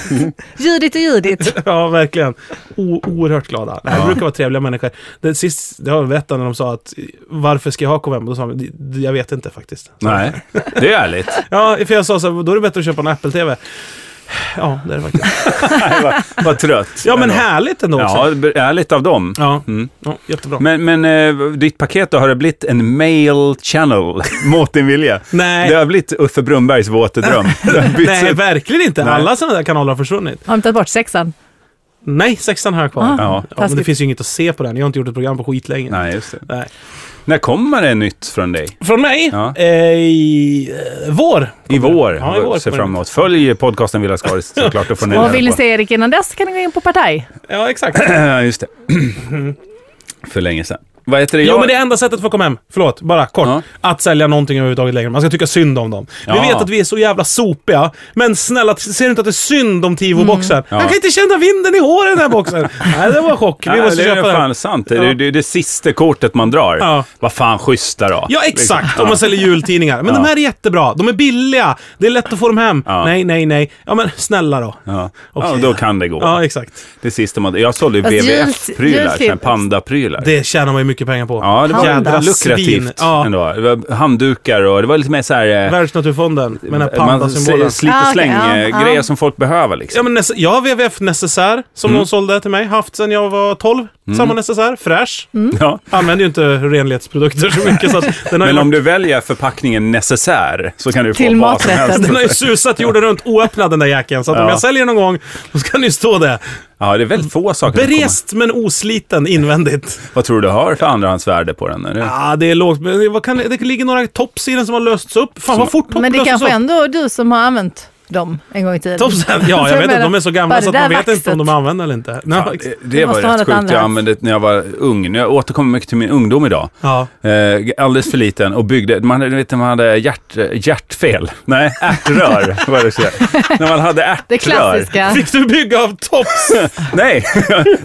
Speaker 2: Judit
Speaker 1: (laughs)
Speaker 2: och Judit.
Speaker 3: Ja, verkligen. O- oerhört glada. Det här brukar vara trevliga människor. Det, sist, det har jag berättat när de sa att varför ska jag ha KVM? Då sa de, "Det- det- jag vet inte faktiskt.
Speaker 1: Nej, det är
Speaker 3: (laughs)
Speaker 1: ärligt.
Speaker 3: Ja, för jag sa så här, då är det bättre att köpa en Apple-TV. Ja, det är det faktiskt.
Speaker 1: Nej, vad, vad trött.
Speaker 3: Ja, men
Speaker 1: Ändå.
Speaker 3: härligt ändå också.
Speaker 1: Ja, b- ärligt av dem. Mm.
Speaker 3: Ja, ja jättebra.
Speaker 1: Men, men eh, ditt paket då, har det blivit en mail channel (laughs) mot din vilja?
Speaker 3: Nej.
Speaker 1: Det har blivit Uffe Brunnbergs våte
Speaker 3: (laughs)
Speaker 1: dröm. Det har bytts
Speaker 3: Nej,
Speaker 1: ut.
Speaker 3: verkligen inte.
Speaker 1: Nej.
Speaker 3: Alla sådana där kanaler har försvunnit.
Speaker 2: Har de tagit bort sexan?
Speaker 3: Nej, sexan har jag kvar.
Speaker 2: Ah,
Speaker 1: Ja.
Speaker 3: Ja, men det
Speaker 2: taskigt.
Speaker 3: finns ju inget att se på den. Jag har inte gjort ett program på skitlänge.
Speaker 1: Nej, just det.
Speaker 3: Nej.
Speaker 1: När kommer det nytt från dig?
Speaker 3: Från mig?
Speaker 1: Ja.
Speaker 3: Eh, i, eh, vår.
Speaker 1: I vår,
Speaker 3: Ja, i vår
Speaker 1: ser
Speaker 3: kommer
Speaker 1: fram emot. Följ podcasten Villa Skaris såklart. Och får ni reda
Speaker 2: Och vill ni
Speaker 1: på. (clears throat)
Speaker 2: se Erik innan dess kan ni gå in på Partaj.
Speaker 3: Ja, exakt.
Speaker 1: Just det. (clears throat) För länge sedan. Vad heter det?
Speaker 3: Jo, men det är enda sättet för att komma hem. Förlåt, bara kort.
Speaker 1: Ja.
Speaker 3: Att sälja någonting överhuvudtaget längre. Man ska tycka synd om dem.
Speaker 1: Ja.
Speaker 3: Vi vet att vi är så jävla sopiga, men snälla, t- ser du inte att det är synd om
Speaker 1: Mm.
Speaker 3: Tivo-boxen? Han kan inte känna vinden i håret i den
Speaker 1: (laughs)
Speaker 3: här boxen. Nej, det var chock. Vi
Speaker 1: Ja,
Speaker 3: måste
Speaker 1: det är
Speaker 3: köpa
Speaker 1: ju fan
Speaker 3: den.
Speaker 1: sant. Det är
Speaker 3: Ja.
Speaker 1: det, är det sista kortet man drar.
Speaker 3: Ja.
Speaker 1: Vad fan, schyssta då.
Speaker 3: Ja, exakt. Om man säljer jultidningar. Men
Speaker 1: Liksom. Ja.
Speaker 3: de här är jättebra. De är billiga. Det är lätt att få dem hem.
Speaker 1: Ja.
Speaker 3: Nej, nej, nej. Ja, men snälla då. Ja,
Speaker 1: Ja. ja,
Speaker 3: Okej.
Speaker 1: då kan det gå.
Speaker 3: exakt.
Speaker 1: Det sista man... Jag sålde ju
Speaker 2: Fast
Speaker 1: WWF-prylar,
Speaker 2: jul-
Speaker 1: såna här pandaprylar.
Speaker 3: Det tjänar man ju mycket pengar på.
Speaker 1: Ja, det var
Speaker 3: Jävla
Speaker 1: jävla
Speaker 3: svin.
Speaker 1: lukrativt
Speaker 3: Ja.
Speaker 1: ändå. Det var handdukar och det var lite mer så här... eh,
Speaker 3: Världsnaturfonden med den här
Speaker 1: man
Speaker 3: pandasymbolen.
Speaker 1: s- slit
Speaker 2: Ah,
Speaker 1: och
Speaker 2: okej,
Speaker 1: släng
Speaker 2: ja,
Speaker 1: eh,
Speaker 2: ja.
Speaker 1: grejer som folk behöver
Speaker 3: Ja,
Speaker 1: liksom. Mm.
Speaker 3: men necess- jag har WWF necessär som någon sålde till mig. Haft sedan jag var 12. Samma necessär. Fräsch.
Speaker 2: Mm.
Speaker 1: Ja.
Speaker 3: Använder ju inte renlighetsprodukter så mycket så att
Speaker 1: (laughs)
Speaker 3: den har, ju
Speaker 1: Men om
Speaker 3: varit-
Speaker 1: du väljer förpackningen necessär så kan du få
Speaker 2: Till
Speaker 1: vad som
Speaker 2: maträtten.
Speaker 1: helst.
Speaker 3: den har ju susat jorden runt oöppnad den där jäkeln. Så att
Speaker 1: Ja.
Speaker 3: om jag säljer någon gång, då ska ni stå där.
Speaker 1: Ja, det är väldigt få saker som kommer-
Speaker 3: Berest men osliten invändigt.
Speaker 1: Vad tror du du har för andrahandsvärde på den? Är det-
Speaker 3: Ja, det är lågt. Men det- vad kan, det det ligger några tops i den som har lösts upp. Fan vad fort
Speaker 2: Men det
Speaker 3: löses
Speaker 2: kanske
Speaker 3: upp.
Speaker 2: ändå är du som har använt dem en gång i tiden.
Speaker 3: Topsen, ja, jag vet inte. De är så gamla
Speaker 2: Bara
Speaker 3: så att
Speaker 2: det
Speaker 3: man
Speaker 2: där
Speaker 3: vet inte om de
Speaker 2: vaxet.
Speaker 3: använder eller inte. Nej,
Speaker 1: Fan,
Speaker 3: exakt.
Speaker 1: det, det var
Speaker 2: måste ha
Speaker 1: rätt
Speaker 2: något
Speaker 1: sjukt. Jag
Speaker 2: annat.
Speaker 1: använde det när jag var ung. Jag återkommer mycket till min ungdom idag.
Speaker 3: Ja.
Speaker 1: Eh, alldeles för liten och byggde, man, hade- vet, när man hade hjärt, hjärtfel. Nej, ärtrör var det
Speaker 2: (laughs)
Speaker 1: så. När man hade ärtrör.
Speaker 2: Det klassiska.
Speaker 3: Fick du bygga av tops?
Speaker 1: Nej,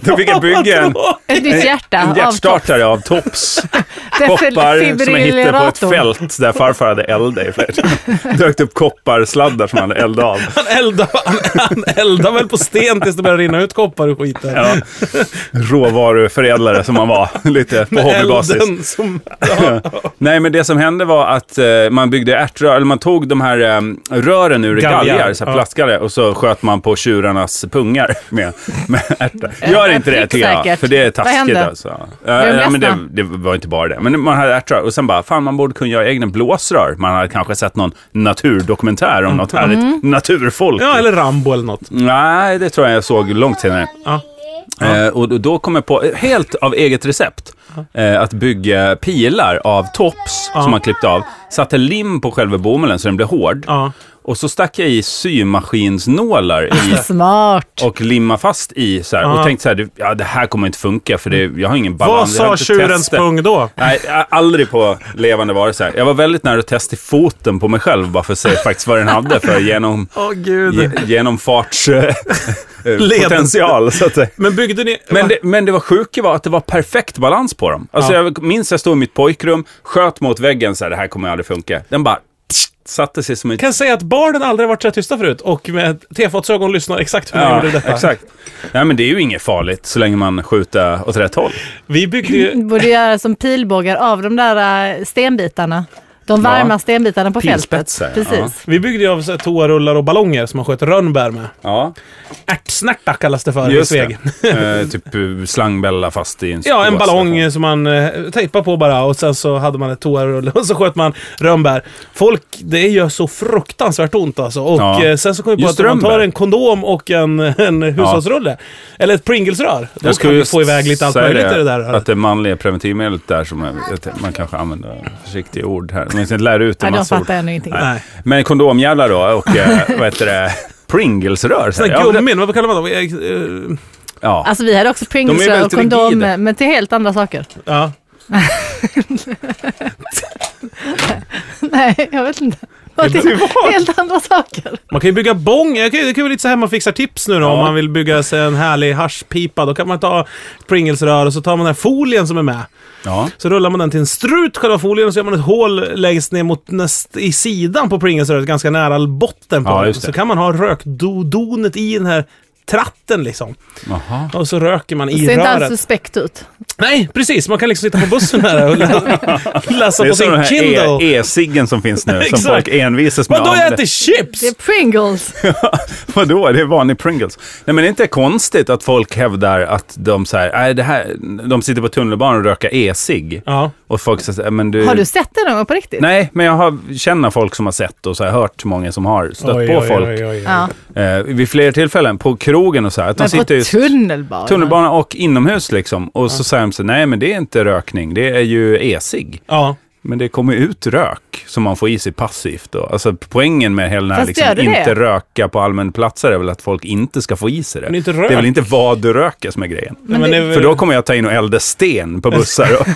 Speaker 1: då fick (laughs) jag bygga
Speaker 3: (laughs)
Speaker 1: en,
Speaker 2: Ett nytt hjärta
Speaker 1: en
Speaker 2: av topp.
Speaker 1: hjärtstartare av
Speaker 2: (laughs)
Speaker 1: tops. Koppar som jag hittade på ett fält där farfar hade eldat i flera timmar. (laughs) Dök upp kopparsladdar som han hade eldat av.
Speaker 3: Han eldar, han, han eldar väl på sten tills det börjar rinna ut koppar och skit. där. (laughs)
Speaker 1: Ja. Råvaruförädlare som han var, lite på
Speaker 3: Med
Speaker 1: hobbybasis.
Speaker 3: elden som...
Speaker 1: (laughs) Nej, men det som hände var att eh, man byggde ärtrör, eller man tog de här eh, rören ur galgar,
Speaker 3: Galgar,
Speaker 1: så här
Speaker 3: ja.
Speaker 1: plastgalgar, och så sköt man på tjurarnas pungar (laughs) med, med ärtor. Gör
Speaker 2: jag
Speaker 1: inte det,
Speaker 2: fick
Speaker 1: tycker jag,
Speaker 2: säkert.
Speaker 1: för det är
Speaker 2: Vad
Speaker 1: taskigt
Speaker 2: hände?
Speaker 1: alltså. Eh,
Speaker 2: Blev de
Speaker 1: ja, men det,
Speaker 2: ledsna?
Speaker 1: det var inte bara det, men man hade ärtrör, och sen bara, fan man borde kunna göra egna blåsrör. Man hade kanske sett någon naturdokumentär om något härligt
Speaker 2: Mm.
Speaker 1: naturfolk.
Speaker 3: Mm. Ja, eller Rambo eller något.
Speaker 1: Nej, det tror jag jag såg långt senare.
Speaker 3: Ja.
Speaker 1: Eh, och då- då kom jag på, eh, helt av eget recept, eh, att bygga pilar av tops som man klippte av. Satte lim på själva bomullen så den blev hård.
Speaker 3: Ja.
Speaker 1: Och så stack jag i symaskinsnålar i
Speaker 2: Smart.
Speaker 1: och limma fast i så här.
Speaker 3: Ja.
Speaker 1: Och tänkte så här, det- ja, det här kommer inte funka för det, jag har ingen
Speaker 3: Vad
Speaker 1: balans. jag har
Speaker 3: sa
Speaker 1: inte
Speaker 3: tjurens
Speaker 1: testat.
Speaker 3: pung då?
Speaker 1: Nej, jag har aldrig på levande varelser. Jag var väldigt nära att testa i foten på mig själv bara för att se faktiskt vad den hade för genom,
Speaker 3: Åh gud.
Speaker 1: ge,
Speaker 3: (laughs)
Speaker 1: genomfarts eh, potential. Så att säga.
Speaker 3: Men byggde ni...
Speaker 1: Men det, men det var sjuka var att det var perfekt balans på dem. Alltså
Speaker 3: Ja.
Speaker 1: jag minns jag stod i mitt pojkrum, sköt mot väggen så här, det här kommer aldrig funka. Den bara satte sig som en...
Speaker 3: kan säga att barnen aldrig har varit så här tysta förut och med tefatsögon lyssnar exakt hur ni
Speaker 1: Ja,
Speaker 3: gjorde detta.
Speaker 1: exakt. Nej men det är ju inget farligt så länge man skjuter åt rätt håll.
Speaker 3: Vi byggde ju...
Speaker 2: Borde göra som pilbågar av de där eh, stenbitarna. De varma
Speaker 1: Ja.
Speaker 2: stenbitarna på fältet.
Speaker 1: Pilspetsar, ja.
Speaker 2: Precis.
Speaker 3: Vi byggde ju av så här toarullar och ballonger som man sköt rönnbär med.
Speaker 1: Ja,
Speaker 3: Ärtsnärta kallas det för i
Speaker 1: just
Speaker 3: Sveg.
Speaker 1: det. Eh, typ eh, slangbälla fast i en
Speaker 3: Ja, en
Speaker 1: stor-
Speaker 3: ballong eh, som man eh, tejpade på bara och sen så hade man ett toarulle (laughs) och så sköt man rönnbär. Folk, det gör så fruktansvärt ont alltså. Och
Speaker 1: Ja.
Speaker 3: eh, sen så kom vi på
Speaker 1: Just
Speaker 3: att om man tar
Speaker 1: rönnbär.
Speaker 3: en kondom och en, (laughs) en hushållsrulle, eller ett Pringles-rör, då
Speaker 1: Jag
Speaker 3: kan
Speaker 1: skulle
Speaker 3: vi
Speaker 1: just
Speaker 3: få iväg lite allt
Speaker 1: säga
Speaker 3: möjligt i det där
Speaker 1: Att
Speaker 3: röret.
Speaker 1: det manliga preventivmedlet där som är, att man kanske använder försiktiga ord här. Man inte lär ut en
Speaker 2: Nej, de
Speaker 1: massa ord.
Speaker 2: fattar ännu ingenting.
Speaker 3: Nej.
Speaker 1: Men kondomjävlar då och eh, (laughs) vad heter det? Pringles-rör. säger
Speaker 3: Sådana
Speaker 1: jag. Ja, men det-
Speaker 3: gummin, vad kallar man dem? Eh, eh,
Speaker 1: Ja.
Speaker 2: Alltså vi hade också
Speaker 1: De är
Speaker 2: Pringles
Speaker 1: väldigt
Speaker 2: och kondom,
Speaker 1: rigida.
Speaker 2: men till helt andra saker. (laughs)
Speaker 3: Ja.
Speaker 2: Nej, jag vet inte.
Speaker 3: Det var-
Speaker 2: Helt andra saker.
Speaker 3: Man kan ju bygga bång. Jag kan ju- Det kan ju vara lite så här man fixar tips nu då. Om man vill bygga sig en härlig haschpipa. Då kan man ta ett Pringles-rör och så tar man den här folien som är med.
Speaker 1: ja.
Speaker 3: Så rullar man den till en strut, själva folien, och så gör man ett hål längst ner mot näst, i sidan på Pringles-röret, ganska nära botten på
Speaker 1: Ja,
Speaker 3: den.
Speaker 1: just det.
Speaker 3: Så kan man ha rökdodonet i den här tratten liksom.
Speaker 1: Jaha.
Speaker 3: Och så röker man i
Speaker 2: Ser inte alls
Speaker 3: röret.
Speaker 2: suspekt ut.
Speaker 3: Nej, precis. Man kan liksom sitta på bussen
Speaker 1: (laughs)
Speaker 3: här och lä- läsa
Speaker 1: Det är
Speaker 3: på
Speaker 1: som
Speaker 3: sin
Speaker 1: den
Speaker 3: Kindle.
Speaker 1: här e- e-ciggen som finns
Speaker 3: (laughs)
Speaker 1: nu, som
Speaker 3: Exakt.
Speaker 1: folk envisas med.
Speaker 3: Vadå,
Speaker 1: Ja, men
Speaker 3: jag
Speaker 1: det-
Speaker 3: äter chips!
Speaker 2: Det är Pringles.
Speaker 1: Vadå, det är vanlig Pringles. Nej men det är inte konstigt att folk hävdar att de så här, nej det här, de sitter på tunnelbanan och röker e-cigg.
Speaker 3: Ja.
Speaker 1: Och folk säger så här, men
Speaker 2: Har du sett det någon gång på riktigt?
Speaker 1: Nej, men jag har, känner folk som har sett och så här, hört många som har stött på folk
Speaker 2: Ja.
Speaker 1: Eh, vid flera tillfällen på krogen och så här. Att de
Speaker 2: Men på
Speaker 1: sitter i
Speaker 2: tunnelbanan.
Speaker 1: tunnelbanan och inomhus liksom. Och så säger de så här, nej men det är inte rökning, det är ju e-cigg.
Speaker 3: Ja.
Speaker 1: Men det kommer ut rök som man får i sig passivt. Då. Alltså poängen med hela den här
Speaker 2: Fast
Speaker 1: liksom,
Speaker 2: gör det
Speaker 1: inte
Speaker 2: det?
Speaker 1: röka på allmän plats är väl att folk inte ska få i sig det.
Speaker 3: Men inte
Speaker 1: det är
Speaker 3: rök.
Speaker 1: väl inte vad du röker som är grejen.
Speaker 3: Men
Speaker 2: det-
Speaker 3: det är väl-
Speaker 1: För då kommer jag ta in och elda sten på bussar
Speaker 3: (laughs)
Speaker 1: och,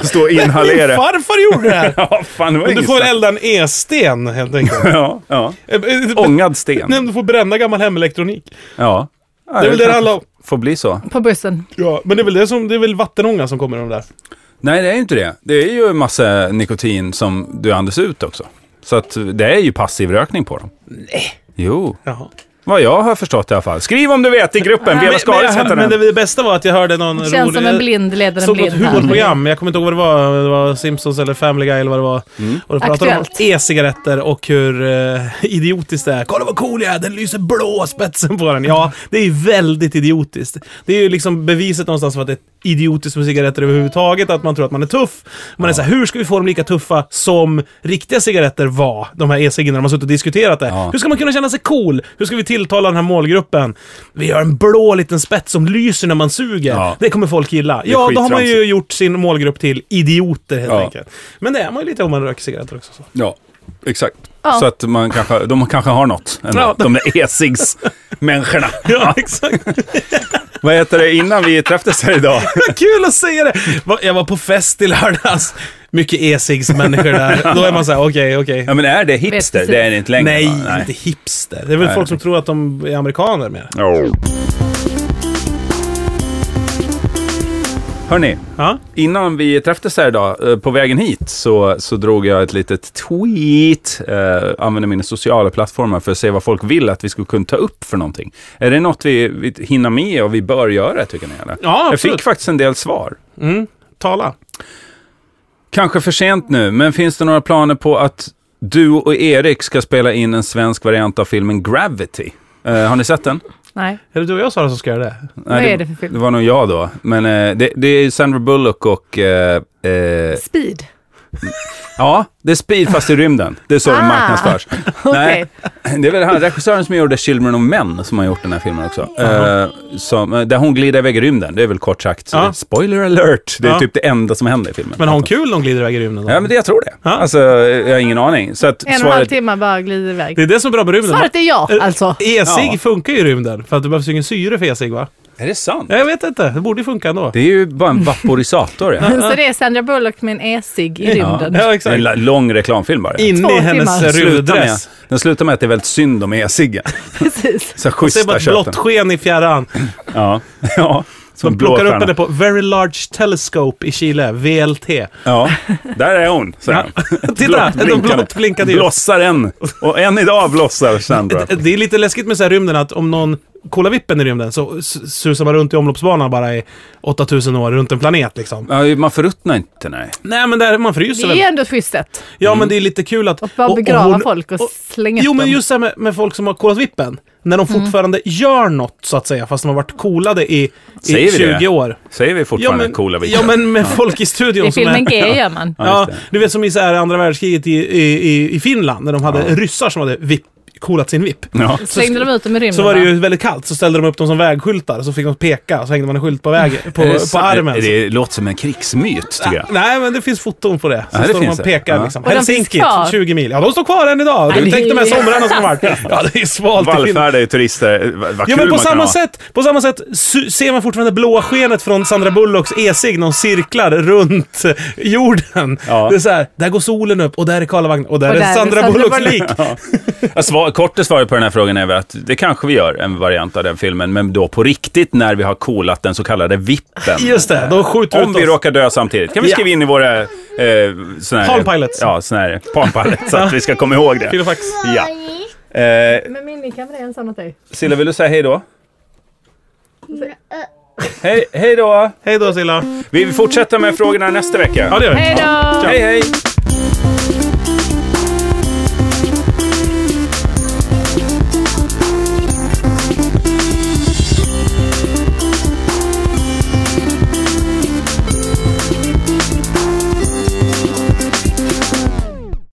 Speaker 1: och stå och
Speaker 3: Min
Speaker 1: inhalera.
Speaker 3: farfar gjorde det här!
Speaker 1: (laughs) Ja, fan, det var
Speaker 3: Men du
Speaker 1: inget
Speaker 3: får
Speaker 1: snack.
Speaker 3: elda en e-sten helt enkelt.
Speaker 1: (laughs) Ja, ja.
Speaker 3: Eh, eh,
Speaker 1: Ångad
Speaker 3: Nej,
Speaker 1: sten.
Speaker 3: men du får bränna gammal hemelektronik.
Speaker 1: Ja. Ja,
Speaker 3: Det är väl det det
Speaker 1: kanske
Speaker 3: handlar om.
Speaker 1: Får bli så.
Speaker 2: På bussen.
Speaker 3: Ja, men det är väl, det som, det är väl vattenånga som kommer i de där.
Speaker 1: Nej, det är ju inte det. Det är ju en massa nikotin som du andas ut också. Så att det är ju passiv rökning på dem. Nej. Jo.
Speaker 3: Jaha.
Speaker 1: Vad jag har förstått i alla fall. Skriv om du vet i gruppen. Vela
Speaker 3: Men,
Speaker 1: Skaris
Speaker 3: men,
Speaker 1: heter
Speaker 3: jag, men
Speaker 1: den.
Speaker 3: det bästa var att jag hörde någon
Speaker 2: Det känns
Speaker 3: rolig...
Speaker 2: som en blind leder en
Speaker 3: såg något
Speaker 2: blind. här.
Speaker 3: humorprogram, jag kommer inte ihåg vad det var. Det var Simpsons eller Family Guy eller vad det var.
Speaker 1: Mm.
Speaker 3: Och då pratade de om
Speaker 2: Aktuellt.
Speaker 3: e-cigaretter och hur eh, idiotiskt det är. Kolla vad cool jag är, den lyser blå spetsen på den. Ja, det är ju väldigt idiotiskt. Det är ju liksom beviset någonstans för att det är idiotiskt med cigaretter överhuvudtaget. Att man tror att man är tuff. Man är såhär, hur ska vi få dem lika tuffa som riktiga cigaretter var? De här e-ciggarna, de har suttit och diskuterat det.
Speaker 1: Ja.
Speaker 3: Hur ska man kunna känna sig cool? Hur ska vi tilltala den här målgruppen? Vi gör en blå liten spets som lyser när man suger.
Speaker 1: Ja.
Speaker 3: Det kommer folk gilla. Ja, då har man ju
Speaker 1: skittramsigt.
Speaker 3: gjort sin målgrupp till idioter helt
Speaker 1: Ja.
Speaker 3: enkelt. Men det är man ju lite om man röker cigaretter också. Så.
Speaker 1: Ja, exakt.
Speaker 2: Ja.
Speaker 1: Så att man kanske, de kanske har något. Ändå,
Speaker 3: Ja.
Speaker 1: De där e-cigs-människorna.
Speaker 3: (laughs) Ja, exakt.
Speaker 1: Vad heter det innan vi träffades här
Speaker 3: (laughs)
Speaker 1: idag?
Speaker 3: Kul att säga det! Va- Jag var på fest i lördags. Mycket
Speaker 1: (laughs)
Speaker 3: e-cigs-människor där. Då är man såhär, okej, okej.
Speaker 1: Ja, men är det hipster?
Speaker 2: precis.
Speaker 1: Det är det inte längre.
Speaker 3: Nej,
Speaker 1: va?
Speaker 3: inte hipster. Det är väl
Speaker 1: Nej.
Speaker 3: folk som tror att de är amerikaner mer.
Speaker 1: Hörni,
Speaker 3: Ja.
Speaker 1: innan vi träffades här idag, eh, på vägen hit, så, så drog jag ett litet tweet. Eh, använde mina sociala plattformar för att se vad folk vill att vi skulle kunna ta upp för någonting. Är det något vi, vi hinner med och vi bör göra, tycker ni? Eller?
Speaker 3: Ja,
Speaker 1: jag
Speaker 3: absolut.
Speaker 1: fick faktiskt en del svar.
Speaker 3: Mm. Tala.
Speaker 1: Kanske för sent nu, men finns det några planer på att du och Erik ska spela in en svensk variant av filmen Gravity? Eh, har ni sett den?
Speaker 2: Nej.
Speaker 3: Är det du och jag Sara som ska göra det?
Speaker 1: Nej,
Speaker 2: är det för film?
Speaker 1: Det var nog jag då. Men eh, det, det är Sandra Bullock och... Eh, eh,
Speaker 2: Speed.
Speaker 1: Ja, det är speed fast i rymden. Det är så det
Speaker 2: Ah,
Speaker 1: marknadsförs.
Speaker 2: (laughs) okej.
Speaker 1: Nej, det är väl han, regissören som gjorde Children of Men som har gjort den här filmen också. Eh, som, eh, där hon glider iväg i rymden. Det är väl kort sagt,
Speaker 3: Ja.
Speaker 1: spoiler alert, det är
Speaker 3: Ja.
Speaker 1: typ det enda som händer i filmen.
Speaker 3: Men har hon kul när hon glider iväg i rymden? då?
Speaker 1: Ja, men det, jag tror det.
Speaker 3: Ja.
Speaker 1: Alltså, jag har ingen aning. Så att
Speaker 2: En och en halv
Speaker 1: svaret...
Speaker 2: timme bara glider iväg.
Speaker 3: Det är det som är bra med rymden.
Speaker 2: Svaret är ja,
Speaker 3: Eh,
Speaker 2: alltså.
Speaker 3: E-cigg
Speaker 1: Ja.
Speaker 3: funkar ju i rymden, för att det behövs ju ingen syre för e-cigg va?
Speaker 1: Är det sant?
Speaker 3: Ja, Jag vet inte, det borde ju funka ändå.
Speaker 1: Det är ju bara en
Speaker 3: (laughs)
Speaker 1: vaporisator. Ja.
Speaker 2: (laughs) Så det är Sandra Bullock med en esig i rymden.
Speaker 3: eh. Ja,
Speaker 1: Det är en
Speaker 3: exakt.
Speaker 1: la- lång reklamfilm bara.
Speaker 3: Inne i
Speaker 2: Två
Speaker 3: hennes
Speaker 2: timmar.
Speaker 1: Slutar med,
Speaker 3: rymddress.
Speaker 1: den slutar med att det är väldigt synd om e-ciggen.
Speaker 2: Precis.
Speaker 1: Så
Speaker 3: Och ser bara
Speaker 1: schyssta
Speaker 3: ett
Speaker 1: köpen.
Speaker 3: blått sken i fjärran.
Speaker 1: Ja. (laughs) ja. Som
Speaker 3: De
Speaker 1: blå
Speaker 3: plockar upp
Speaker 1: stjärna.
Speaker 3: henne på Very Large Telescope i Chile, VLT.
Speaker 1: Ja, där är hon, säger han.
Speaker 3: Titta, de blått blinkande ljus.
Speaker 1: Blossar en. Och än idag blossar
Speaker 3: (laughs)
Speaker 1: Sandra.
Speaker 3: Det är lite läskigt med så här rymden att om någon kollar vippen i rymden så s- susar man runt i omloppsbanan bara i 8000 år runt en planet liksom.
Speaker 1: Ja, man förruttnar inte, nej.
Speaker 3: Nej men där, man fryser
Speaker 2: Det
Speaker 3: väl.
Speaker 2: är ändå ett schysst sätt.
Speaker 3: Ja men det är lite kul att...
Speaker 2: Bara begrava
Speaker 3: hon-
Speaker 2: folk och, slänga
Speaker 3: Jo
Speaker 2: upp
Speaker 3: men
Speaker 2: dem. Mm.
Speaker 3: just det här med, med folk som har kollat vippen. När de fortfarande gör något så att säga fast de har varit coolade i, i
Speaker 1: Säger vi det?
Speaker 3: 20 år.
Speaker 1: Säger vi
Speaker 3: Ja
Speaker 1: fortfarande
Speaker 3: men,
Speaker 1: coola
Speaker 3: ja,
Speaker 1: viker?
Speaker 3: men med folk i studion
Speaker 2: I
Speaker 3: som
Speaker 2: filmen
Speaker 3: är...
Speaker 2: G gör man.
Speaker 1: Ja,
Speaker 3: Ja,
Speaker 1: just det.
Speaker 3: du vet som i så här andra världskriget i, i, i, i Finland när de hade ryssar som hade VIP, coolat sin vipp.
Speaker 1: Ja.
Speaker 2: Slängde de ut dem i rymden?
Speaker 3: Så var det
Speaker 2: va?
Speaker 3: ju väldigt kallt, så ställde de upp dem som vägskyltar, så fick de peka, så hängde man en skylt på,
Speaker 1: (laughs)
Speaker 3: väg, på,
Speaker 1: Är det
Speaker 3: på
Speaker 1: sant?
Speaker 3: armen. alltså.
Speaker 1: Det, Eh, det låter som en krigsmyt, tycker jag.
Speaker 3: Nej, men det finns foton på det. Så
Speaker 1: Ja, det
Speaker 3: står de
Speaker 1: finns
Speaker 3: och
Speaker 1: det.
Speaker 3: pekar
Speaker 1: Ja.
Speaker 3: liksom.
Speaker 2: Och de finns
Speaker 3: Helsinki,
Speaker 2: kvar.
Speaker 3: 20 mil. Ja, de står kvar än idag.
Speaker 2: Nej,
Speaker 3: Du, tänk de här
Speaker 2: det är ju
Speaker 3: somrarna som har varit.
Speaker 1: (laughs)
Speaker 3: Ja, det är svalt i Finland.
Speaker 1: Vallfärda är ju turister. Eh, Vad vad kul
Speaker 3: Ja, men
Speaker 1: man
Speaker 3: på
Speaker 1: kan
Speaker 3: samma,
Speaker 1: ha.
Speaker 3: sätt, på samma sätt su- ser man fortfarande blåa skenet från Sandra Bullocks e-cigg när hon cirklar runt eh, jorden.
Speaker 1: Ja.
Speaker 3: Det är så här, där går solen upp och där är Karlavagnen och där
Speaker 2: Och
Speaker 3: är
Speaker 2: där är
Speaker 3: Sandra
Speaker 2: Sandra
Speaker 3: Bullocks
Speaker 2: Bullock.
Speaker 3: lik.
Speaker 1: (laughs) Ja, svar, korta svaret på den här frågan är väl att det kanske vi gör, en variant av den filmen, men då på riktigt när vi har coolat den så kallade vippen.
Speaker 3: Just det, de skjuter
Speaker 1: Om
Speaker 3: ut
Speaker 1: vi
Speaker 3: oss.
Speaker 1: råkar dö samtidigt. Kan vi
Speaker 3: Ja.
Speaker 1: skriva in i våra... Eh, sån här,
Speaker 3: Palm Pilots.
Speaker 1: Ja, sån här Palm Pilots, så att vi ska komma ihåg det.
Speaker 3: Filofax.
Speaker 1: Ja. Eh,
Speaker 2: Men Minni kan väl ensam åt dig?
Speaker 1: Silla, vill du säga hej då? Hej, hej då!
Speaker 3: Hej då Silla.
Speaker 1: Vi fortsätter med frågorna nästa vecka.
Speaker 3: Ja, det gör vi.
Speaker 2: Hej då!
Speaker 1: Hej, hej!